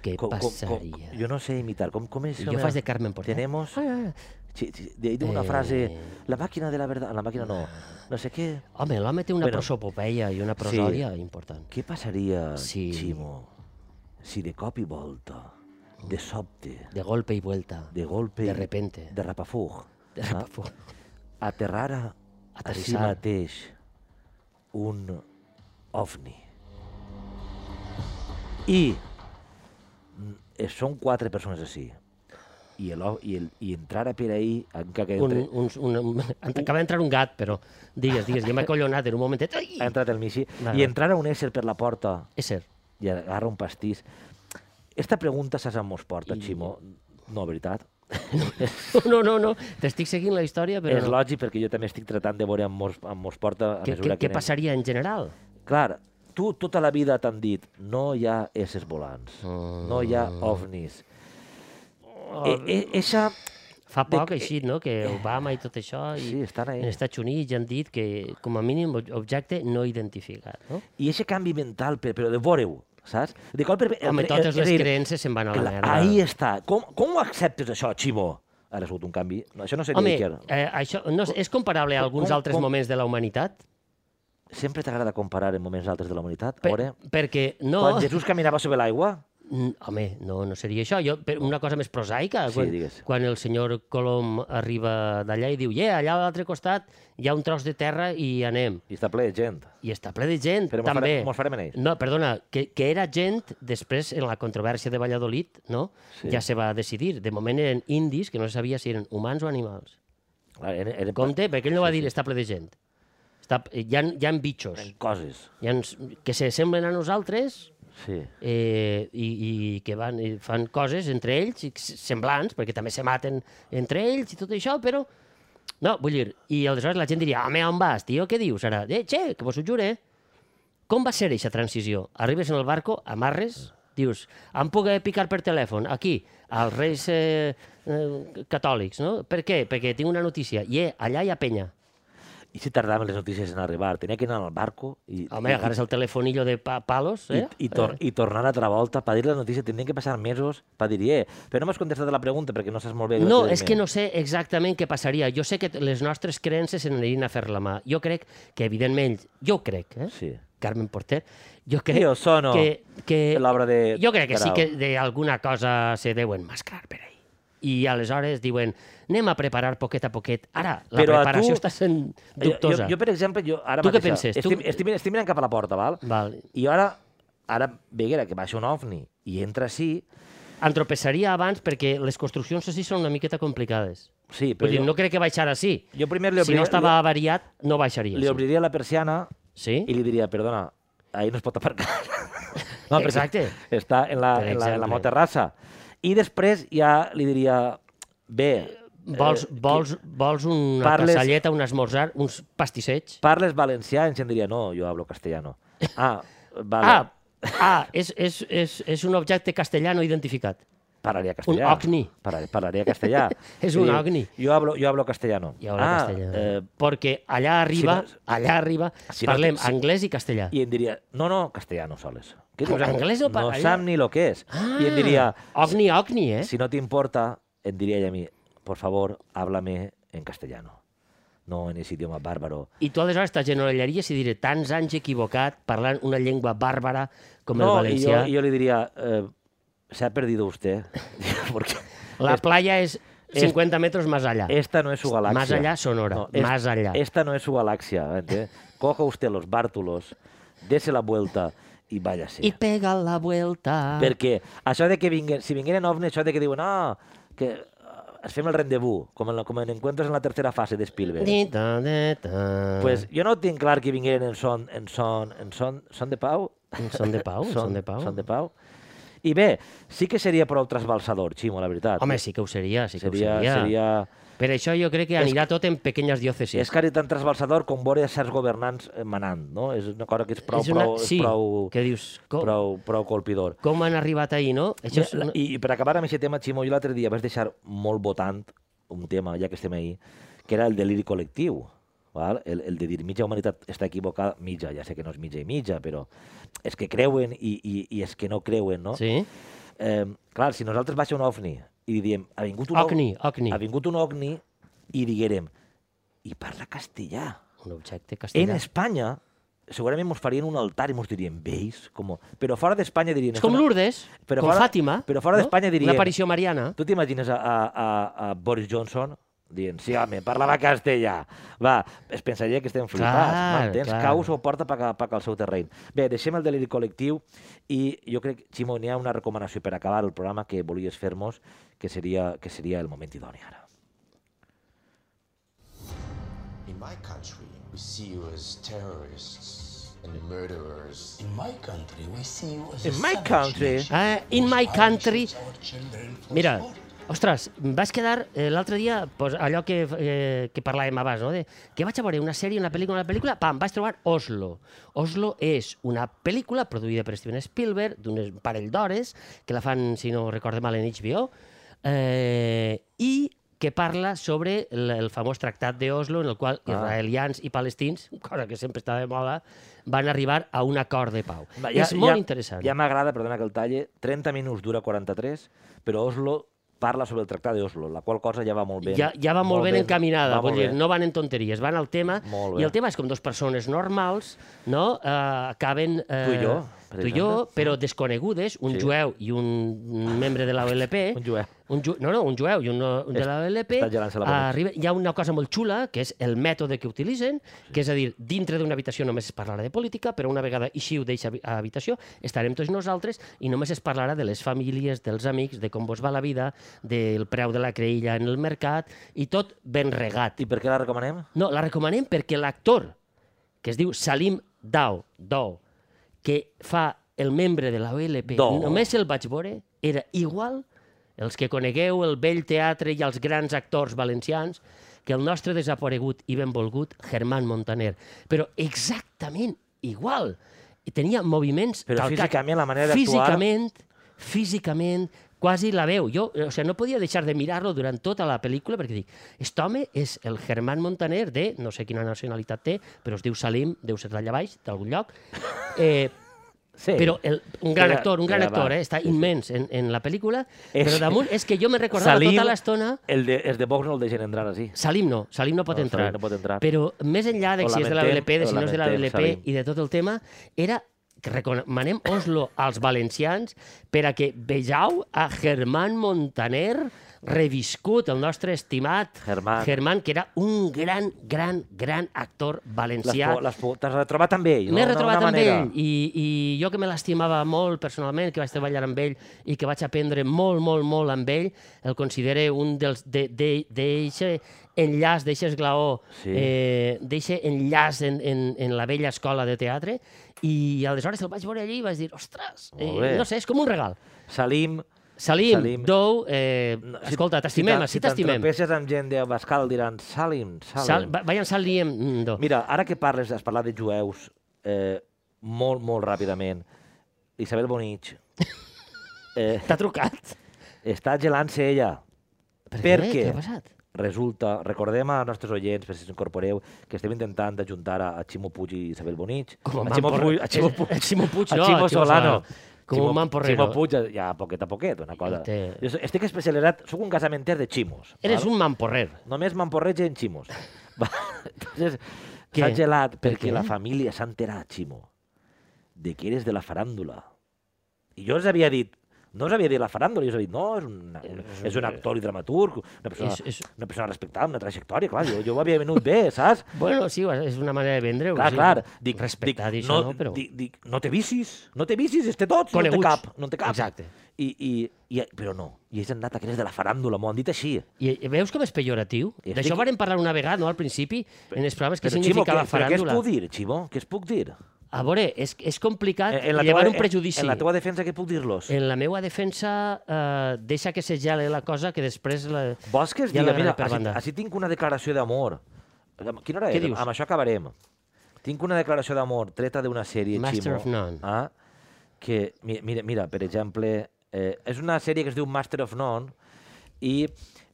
Què Co- co- co- passaria? jo no sé imitar. ¿Cómo, cómo es? Yo fas de Carmen Porter. Tenemos... Ah. Sí, sí, de ahí de una Eh. Ah. frase... La máquina de la verdad... La máquina no. No sé qué... Home, l'home té una Bueno. bueno, prosopopeia i una prosòdia sí. important. Què passaria, sí. Sí. Ximo, si de cop i volta, de sobte, De golpe i vuelta. de golpe... Mm. De repente. De rapafug. De repente. Ah, aterrara a si Aterrissar. mateix un ovni. I mm, eh, són quatre persones així. I, el, o- i, el, i entrara per ahir, encara que Un, entre, un, un, un, acaba d'entrar un gat, però digues, digues, jo m'he collonat en un momentet. Ai! ha entrat el Michi, Vale. i entrara un ésser per la porta És cert. i agarra un pastís. Esta pregunta saps on mos porta, I... Ximo? No, veritat. No, no, no, t'estic seguint la història, Però però és no. lògic perquè jo també estic tratant de veure on mos, on mos porta a Què, mesura què, que què passaria en general? Clar, tu tota la vida t'han dit no hi ha éssers volants, no hi ha Ah. ovnis. E, Eixa... Fa De poc, que- així, no?, que Obama i tot això... I Sí, estan ahí. En Estats Units ja han dit que, com a mínim, ob- objecte no identificat, no? I aquest canvi mental, per- però de veure-ho, saps? De cop per... Home, eh, totes eh, les dir, creences se'n van a la clar, merda. Ahí està. Com, com ho acceptes, això, Ximo? Ara ha sigut un canvi. No, això no seria Home, Iker. eh, això no, és- és comparable a alguns com- altres com- moments de la humanitat? Sempre t'agrada comparar en moments altres de la humanitat? Per, Ore, perquè no... Quan Jesús caminava sobre l'aigua? Mm, Home, no, no seria això. Jo, per una cosa més prosaica, Sí, quan, digues. quan el senyor Colom arriba d'allà i diu «Yeah, allà a l'altre costat hi ha un tros de terra i hi anem». I està ple de gent. I està ple de gent, Però mos també. farem- mos farem en ells. No, perdona, que, que era gent, després, en la controvèrsia de Valladolid, no? Sí. Sí. ja se va decidir. De moment eren indis, que no se sabia si eren humans o animals. Clar, eren, eren Compte, perquè ell no va dir «està ple de gent». Està, hi, ha, hi ha bitxos coses. hi ha, uns que se semblen a nosaltres Sí. eh, i, i que van, i fan coses entre ells i que s- semblants, perquè també se maten entre ells i tot això, però... No, vull dir, i aleshores la gent diria, home, on vas, tio, què dius ara? Eh, che, que vos ho jure. Com va ser aquesta transició? Arribes en el barco, amarres, dius, em puc eh, picar per telèfon, aquí, als Reis eh, eh, Catòlics, no? Per què? Perquè tinc una notícia. I eh, allà hi ha penya. I si tardaven les notícies en arribar? Tenia que anar al barco i... Home, i- agarres el telefonillo de pa palos, I, eh? i, tor i tornar a altra volta, per dir la notícia, tindrien que passar mesos per dir, eh, però no m'has contestat la pregunta perquè no saps molt bé... No, què és que dir-me". no sé exactament què passaria. Jo sé que t- les nostres creences se n'anirien a fer la mà. Jo crec que, evidentment, jo crec, eh? Sí. Carmen Porter, jo crec Io sono que... que l'obra de Jo crec que sí Carau. que d'alguna cosa se deuen mascar per ahí. I aleshores diuen, anem a preparar poquet a poquet. Ara, la Però a tu- preparació està sent Jo, jo, dubtosa. jo, per exemple, jo ara Tu què mateixa penses? Tu- Estic, estic, estic, mirant cap a la porta, val? Val. I jo ara, ara veguera que baixa un ovni i entra així, Antropesaria abans perquè les construccions així són una miqueta complicades. sí, però Vull dir, jo, no crec que baixar així. jo primer li, Si no obriré- estava avariat, no baixaria. li, li sí. obriria la persiana Sí? i li diria, perdona, ahí no es pot aparcar. perquè Exacte. Està en la, en Per la, en la exemple. meva terrassa. I després ja li diria, bé, eh, Vols, vols, vols parles- una parles... casalleta, un esmorzar, uns pastissets? parles valencià, ens en diria, no, jo hablo castellano. Ah, vale. Ah, Ah. ah és, és, és, és un objecte castellà no identificat. Parlaria castellà. ovni. Parla- parlaria castellà. És I un diu, ovni. Jo hablo, jo hablo castellano. I habla ah, castellà. Eh, Perquè allà arriba, si si no, allà arriba, si si no- parlem no, si- si, anglès i castellà. I, I em diria, no, no, castellano soles. Què Però anglès no No parla sap ella. ni lo que és. I em diria, Ogni, ogni, eh? si no t'importa, em diria ella a mi, por favor, háblame en castellano. No en ese idioma bárbaro. I tu aleshores t'agenollaries i diré tants anys equivocat parlant una llengua bàrbara com no, el valencià. Y yo, y yo le diría, eh, se ha perdido usted. Porque La playa és és- 50 metres més allà. esta no es su galaxia. Más allá Sonora, es- más allá. Esta no es su galaxia. ¿entiendes? Coja usted los bártulos, dese la vuelta y váyase. I pega la vuelta. Perquè això de que vinguen, si vingueren ovnis, això de que diuen, ah, que eh, ens fem el rendezvous, com en, la- com en Encuentros en la tercera fase de Spielberg. Dita, dita. Pues jo no tinc clar que vingueren en son, en son, en son, son de pau. Son de Pau, Oh, Son de Pau. Son de pau. I bé, sí que seria prou trasbalsador, Ximo, la veritat. Home, sí que ho seria, sí que seria, ho seria. seria... Per això jo crec que anirà tot en pequeñas diòcesis. És quasi tan trasbalsador com veure certs governants eh, manant, no? És una cosa que és prou, És una- prou, és sí, prou, que dius, com- prou, prou colpidor. Com han arribat ahir, no? Això és Mira, una... la- I, I per acabar amb aquest tema, Ximo, jo l'altre dia vaig deixar molt votant un tema, ja que estem ahí, que era el deliri col·lectiu. Val? El, el de dir mitja humanitat està equivocada, mitja, ja sé que no és mitja i mitja, però és que creuen i, i, i és que no creuen, no? Sí? Eh, clar, si nosaltres baixa un ovni i diem ha vingut un Ocni, ocni. ha vingut un ovni i diguérem i parla castellà. Un objecte En castellà. Espanya segurament ens farien un altar i ens dirien veis, com... però fora d'Espanya dirien... És com "Escolta, Lourdes, però com fora- Fàtima. però fora d'Espanya diria- Una aparició mariana. Tu t'imagines a, a, a, a Boris Johnson dient, sí, home, parlava castellà. Va, es pensaria que estem flipats. Clar, M'entens? clar. Caus o porta pac, pac al seu terreny. Bé, deixem el deliri col·lectiu i jo crec, Ximo, n'hi ha una recomanació per acabar el programa que volies fer-nos, que seria, que seria el moment idoni ara. In my country, we see you as terrorists and murderers. In my country, we see you as a In my savage country, nation Ah, in my whose country... violations our children for Mira, sport. ostres, em vaig quedar eh, l'altre dia, pues, allò que, eh, que parlàvem abans, no? de, que vaig a veure una sèrie, una pel·lícula, una pel·lícula, pam, vaig trobar Oslo. Oslo és una pel·lícula produïda per Steven Spielberg d'un parell d'hores, que la fan, si no recorde mal, en HBO, eh, i que parla sobre el, el famós tractat d'Oslo en el qual ah. israelians i palestins, cosa que sempre està de moda, van arribar a un acord de pau. Va, és molt interessant. Ja m'agrada, perdona que el talle, 30 minuts dura 43, però Oslo parla sobre el tractat d'Oslo, la qual cosa ja va molt bé. Ja, ja va molt, ben, encaminada, va vull molt dir, bé. no van en tonteries, van al tema, Molt bé. i el tema és com dos persones normals, no?, eh, acaben... Eh, Tu i jo, per Tu i jo, exemple. però desconegudes, un Sí. sí. jueu i un membre de l'OLP... Un jueu. Un ju no, no, un jueu i un, un de Es- l'OLP... està gelant-se la boca. arriba, hi ha una cosa molt xula, que és el mètode que utilitzen, que és a dir, dintre d'una habitació només es parlarà de política, però una vegada ixiu d'eixa habi- habitació estarem tots nosaltres i només es parlarà de les famílies, dels amics, de com vos va la vida, del preu de la creïlla en el mercat, i tot ben regat. I per què la recomanem? No, la recomanem perquè l'actor, que es diu Salim Dao, Dao que fa el membre de la OLP, Dao. només el vaig veure, era igual els que conegueu el vell teatre i els grans actors valencians que el nostre desaparegut i benvolgut Germán Montaner. Però exactament igual. I tenia moviments Però físicament, la manera d'actuar- Físicament, físicament, quasi la veu. Jo, eh, o sigui, no podia deixar de mirar-lo durant tota la pel·lícula perquè dic, aquest home és el Germán Montaner de, no sé quina nacionalitat té, però es diu Salim, deu ser d'allà baix, d'algun lloc. Eh, Sí. Però el, un gran Era- actor, un gran era actor, va- eh? està immens en, en la pel·lícula, És- però damunt és que jo me recordava Salim... tota l'estona... El de, els de Vox no el deixen entrar així. Salim no, Salim no pot, No, Salim entrar, no pot entrar. Però més enllà de Ho si és de la lamentem, BLP, de si ho no és de la lamentem, BLP Salim. i de tot el tema, era que recomanem Oslo als valencians per a que vegeu a Germán Montaner reviscut, el nostre estimat Germán. Germán que era un gran, gran, gran actor L'has valencià. po- l'has po- T'has retrobat amb ell, no? M'he D'una- retrobat d'una amb manera. ell i, i jo que me l'estimava molt personalment, que vaig treballar amb ell i que vaig aprendre molt, molt, molt amb ell, el considere un dels de- de- d'eixe de, enllaç, d'eixe esglaó, Sí. sí. eh, d'eixe enllaç en, en, en la vella escola de teatre i aleshores el vaig veure allí i vaig dir, ostres, Molt bé. eh, no sé, és com un regal. Salim... Salim. Salim, Salim. Dou, eh, no, si- escolta, si t'estimem, t'en- si Si t'estimem. t'entropesses amb gent de Bascal, diran Salim, Salim. Sal, va- vayan Salim, mm, do. Mira, ara que parles, has parlat de jueus, eh, molt, molt ràpidament, Isabel Bonich eh, T'ha trucat? està gelant-se ella. Per què? Què ha passat? Resulta, recordem als nostres oients, per si s'incorporeu, que estem intentant d'ajuntar a, a Ximo Puig i Isabel Bonich. Com a a Ximo Manporre- Puig, a Ximo eh, Puig, a Ximo Puig, no, a Ximo a Ximo Solano. Solano. Com Ximo- un Manporrero. Ximo Puig, ja, poquet a poquet, una cosa. Té- Jo so- estic especialitzat, sóc un casamenter de ximos. Eres val? un mamporrer. Només m'emporreig en ximos. Va, Entonces, Què? s'ha gelat Per perquè què? la família s'ha enterat, Ximo, de que eres de la faràndula. I jo els havia dit, no us havia dit la faràndula, jo us havia dit, no, és un, és un actor i dramaturg, una persona, És- és- una persona respectada, una trajectòria, clar, jo, jo ho havia venut bé, saps? Bueno, sí, és una manera de vendre-ho. Clar, sí. clar, dic, Respectar dic, dic, això, no, però... dic, dic, no te vicis, no te vicis, és té tots, no Coneguts. té cap, no té cap. Exacte. I, i, i, però no, i ells han anat a aquelles de la faràndula, m'ho han dit així. I, i veus com és pejoratiu? Estic- D'això vàrem parlar una vegada, no?, al principi, en els programes, que però, Ximo, significava què, però què es faràndula. puc dir, Ximo? Què es puc dir? Eh, A veure, és, és complicat En- en la Ah, llevar teua- un prejudici. Eh, En, en la teva defensa què puc dir-los? En la meva defensa, eh, deixa que se gele la cosa, que després... La... Vols que es ja diga, l'agafo mira, per així, banda. així tinc una declaració d'amor. Amb- Quina hora Què és? dius? Amb això acabarem. Tinc una declaració d'amor treta d'una sèrie, Master Ximo. of None. Ah, que, mi- mira, mira, per exemple, eh, és una sèrie que es diu Master of None i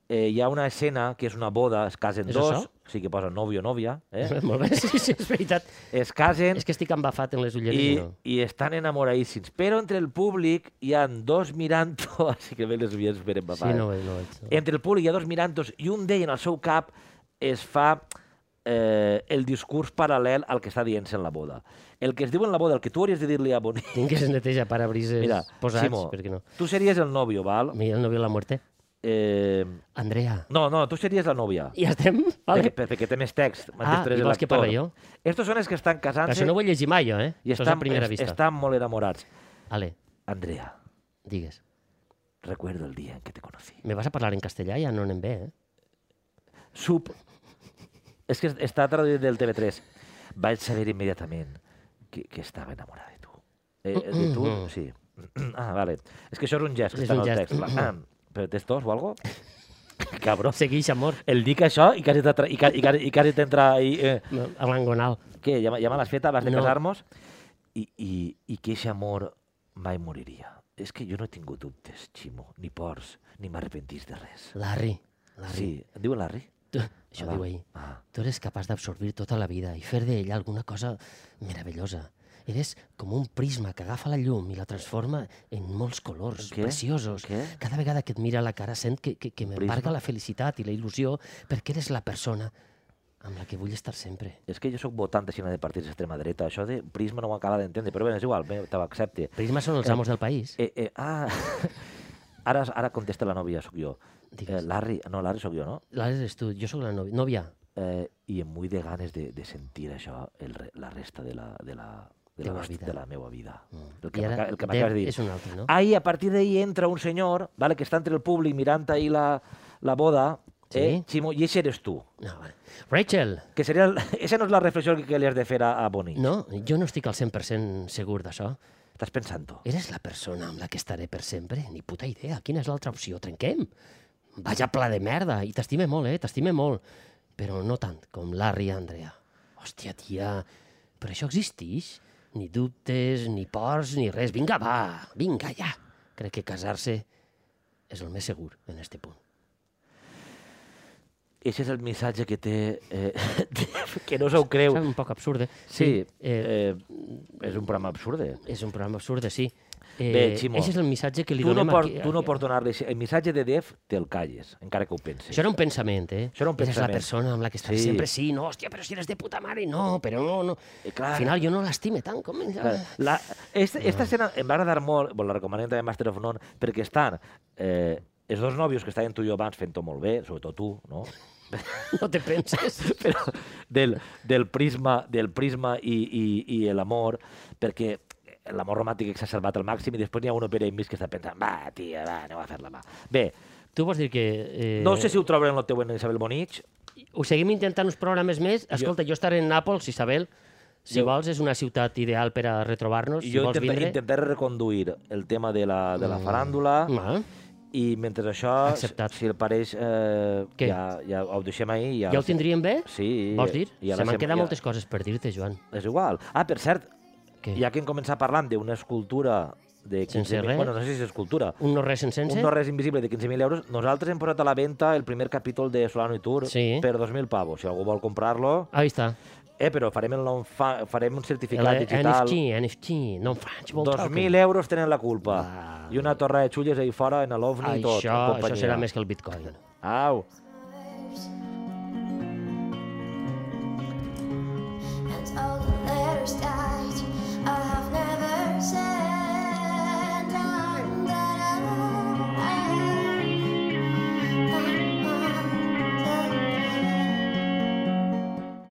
eh, hi ha una escena que és una boda, es casen És dos, això? sí que posa nòvio o nòvia, eh? Molt bé, sí, sí, és veritat. es casen És que estic embafat en les ulleres. Eh? i, no? i estan enamoradíssims. Però entre el públic hi han dos mirant-ho, així que bé les vies per Sí, empapar. no ho veig, no ho veig. Entre el públic hi ha dos mirantos i un d'ell en el seu cap es fa eh, el discurs paral·lel al que està dient-se en la boda. El que es diu en la boda, el que tu hauries de dir-li a Boni... Tinc que se neteja parabrises Mira, posats, Simo, perquè no. Mm. tu series el nòvio, val? Miguel no viu la muerte. Eh, Andrea, no, no, tu series la nòvia. ja estem? Vale. Perquè, perquè té més text. Ah, després i de vols que l'actor. parli jo? Estos són els que estan Però casant-se això no ho he llegit mai, jo, eh? i Això és a estan, primera es- vista. estan molt enamorats. Ale, Andrea, digues. recuerdo el día en que te conocí. Me vas a parlar en castellà? Ja no anem bé, eh? Sup. És que està traduït del TV3. Vaig saber immediatament que, que estava enamorada de tu. Eh, eh, de tu, sí. Ah, vale. És que això és un gest que És està en un el gest. text. Va. Ah, Però tens tos o algo? Cabró. Segueix, amor. El dic això i quasi t'entra... I, ca- i, ca- i, quasi t'entra i, eh, No, A l'engonal. què, ja, me- ja me l'has fet abans de No. casar-nos? I, i, I que aquest amor mai moriria. És que jo no he tingut dubtes, Ximo, ni pors, ni m'arrepentís de res. Larry, Larry. Sí, et diuen Larry? Tu, això Va. diu ell. Ah. Tu eres capaç d'absorbir tota la vida i fer d'ella alguna cosa meravellosa. Eres com un prisma que agafa la llum i la transforma en molts colors Què? preciosos. Què? Cada vegada que et mira a la cara sent que, que, que m'embarga prisma? la felicitat i la il·lusió perquè eres la persona amb la que vull estar sempre. És que jo sóc votant així de partits d'extrema dreta. Això de Prisma no ho acaba d'entendre, però bé, és igual, bé, te l'accepte. Prisma són els amos del país. Eh, eh, ah, ara, ara contesta la nòvia, sóc jo. Eh, Digues. Larry, no, Larry sóc jo, no? L'Àlex eres tu, jo sóc la nòvia. Nòvia, Eh, I em vull de ganes de, de sentir això el, re- la resta de la, de la, de la, Teua nostra- vida. Mm. de la meva vida. El I que ara m'aca- el que Dev m'acabes de dir. és un altre, no? Ah. Ahir, a partir d'ahir, entra un senyor vale, que està entre el públic mirant ahir la, la boda, eh, Sí. Ximo, i ese eres tu. No, vale. Rachel, Que seria el, esa no és la reflexió que, que li has de fer a, a Boni. no, jo no estic al 100% segur d'això. Estàs pensant-ho. Eres la persona amb la que estaré per sempre? Ni puta idea. Quina és l'altra opció? Trenquem? Vaja pla de merda. I t'estime molt, eh? T'estime molt. Però no tant com Larry i Andrea. Hòstia, tia. Però això existeix? Ni dubtes, ni pors, ni res. Vinga, va. Vinga, ja. Crec que casar-se és el més segur en este punt. Ese és el missatge que té... Eh, que no se ho creu. És un poc absurde. Sí, eh, eh, és un programa absurd. eh? és un programa absurde, sí. Eh, Bé, Ximo, Aquest és el missatge que li Tu no, donem por, aquí. tu no pots donar-li... El missatge de Def te'l calles, encara que ho pensis. Això era un pensament, eh? Això era un Eres la pensament. persona amb la que estàs Sí. sí. sempre, sí, no, hòstia, però si eres de puta mare, no, però no, no. Eh, clar. Al final jo no l'estime tant com ella. Eh, La, esta, esta escena em va agradar molt, bueno, la recomanem també Master of None, perquè estan eh, els dos nòvios que estaven tu i jo abans fent-ho molt bé, sobretot tu, no? No te penses. però del, del prisma, del prisma i, i, i l'amor, perquè l'amor romàntic exacerbat al màxim i després n'hi ha un per enmig que està pensant va, tia, va, aneu a fer-la, va. Bé, Tu vols dir que... Eh, no sé si ho troben en el teu en Isabel Bonich. Ho seguim intentant uns programes més. Escolta, jo, estaré en Nàpols, Isabel. Si Jo- vols, és una ciutat ideal per a retrobar-nos. I Si jo vols intenta, vindre... intentaré reconduir el tema de la, de la faràndula Ah, i mentre això, Acceptat. si el pareix, eh, Què? ja, ja ho deixem ahir. Ja, ja ho tindríem bé? Sí. Vols dir? I a la Se m'han sema- i quedat a- moltes coses per dir-te, Joan. És igual. Ah, per cert, Què? ja que hem començat parlant d'una escultura de Sense 15.000... res? Bueno, no sé si és escultura. Un no res sense? un no res invisible de 15.000 euros, nosaltres hem posat a la venda el primer capítol de Solano i Tour Sí. per 2.000 pavos. Si algú vol comprar-lo... Ahí està. Eh, però farem, el non fa, farem un certificat El digital. NFT, NFT, non-fungible 2.000 euros tenen la culpa. Va. I una torre de xulles ahí fora en l'OVNI i tot. en Això, això companyia. serà més que el bitcoin. Au.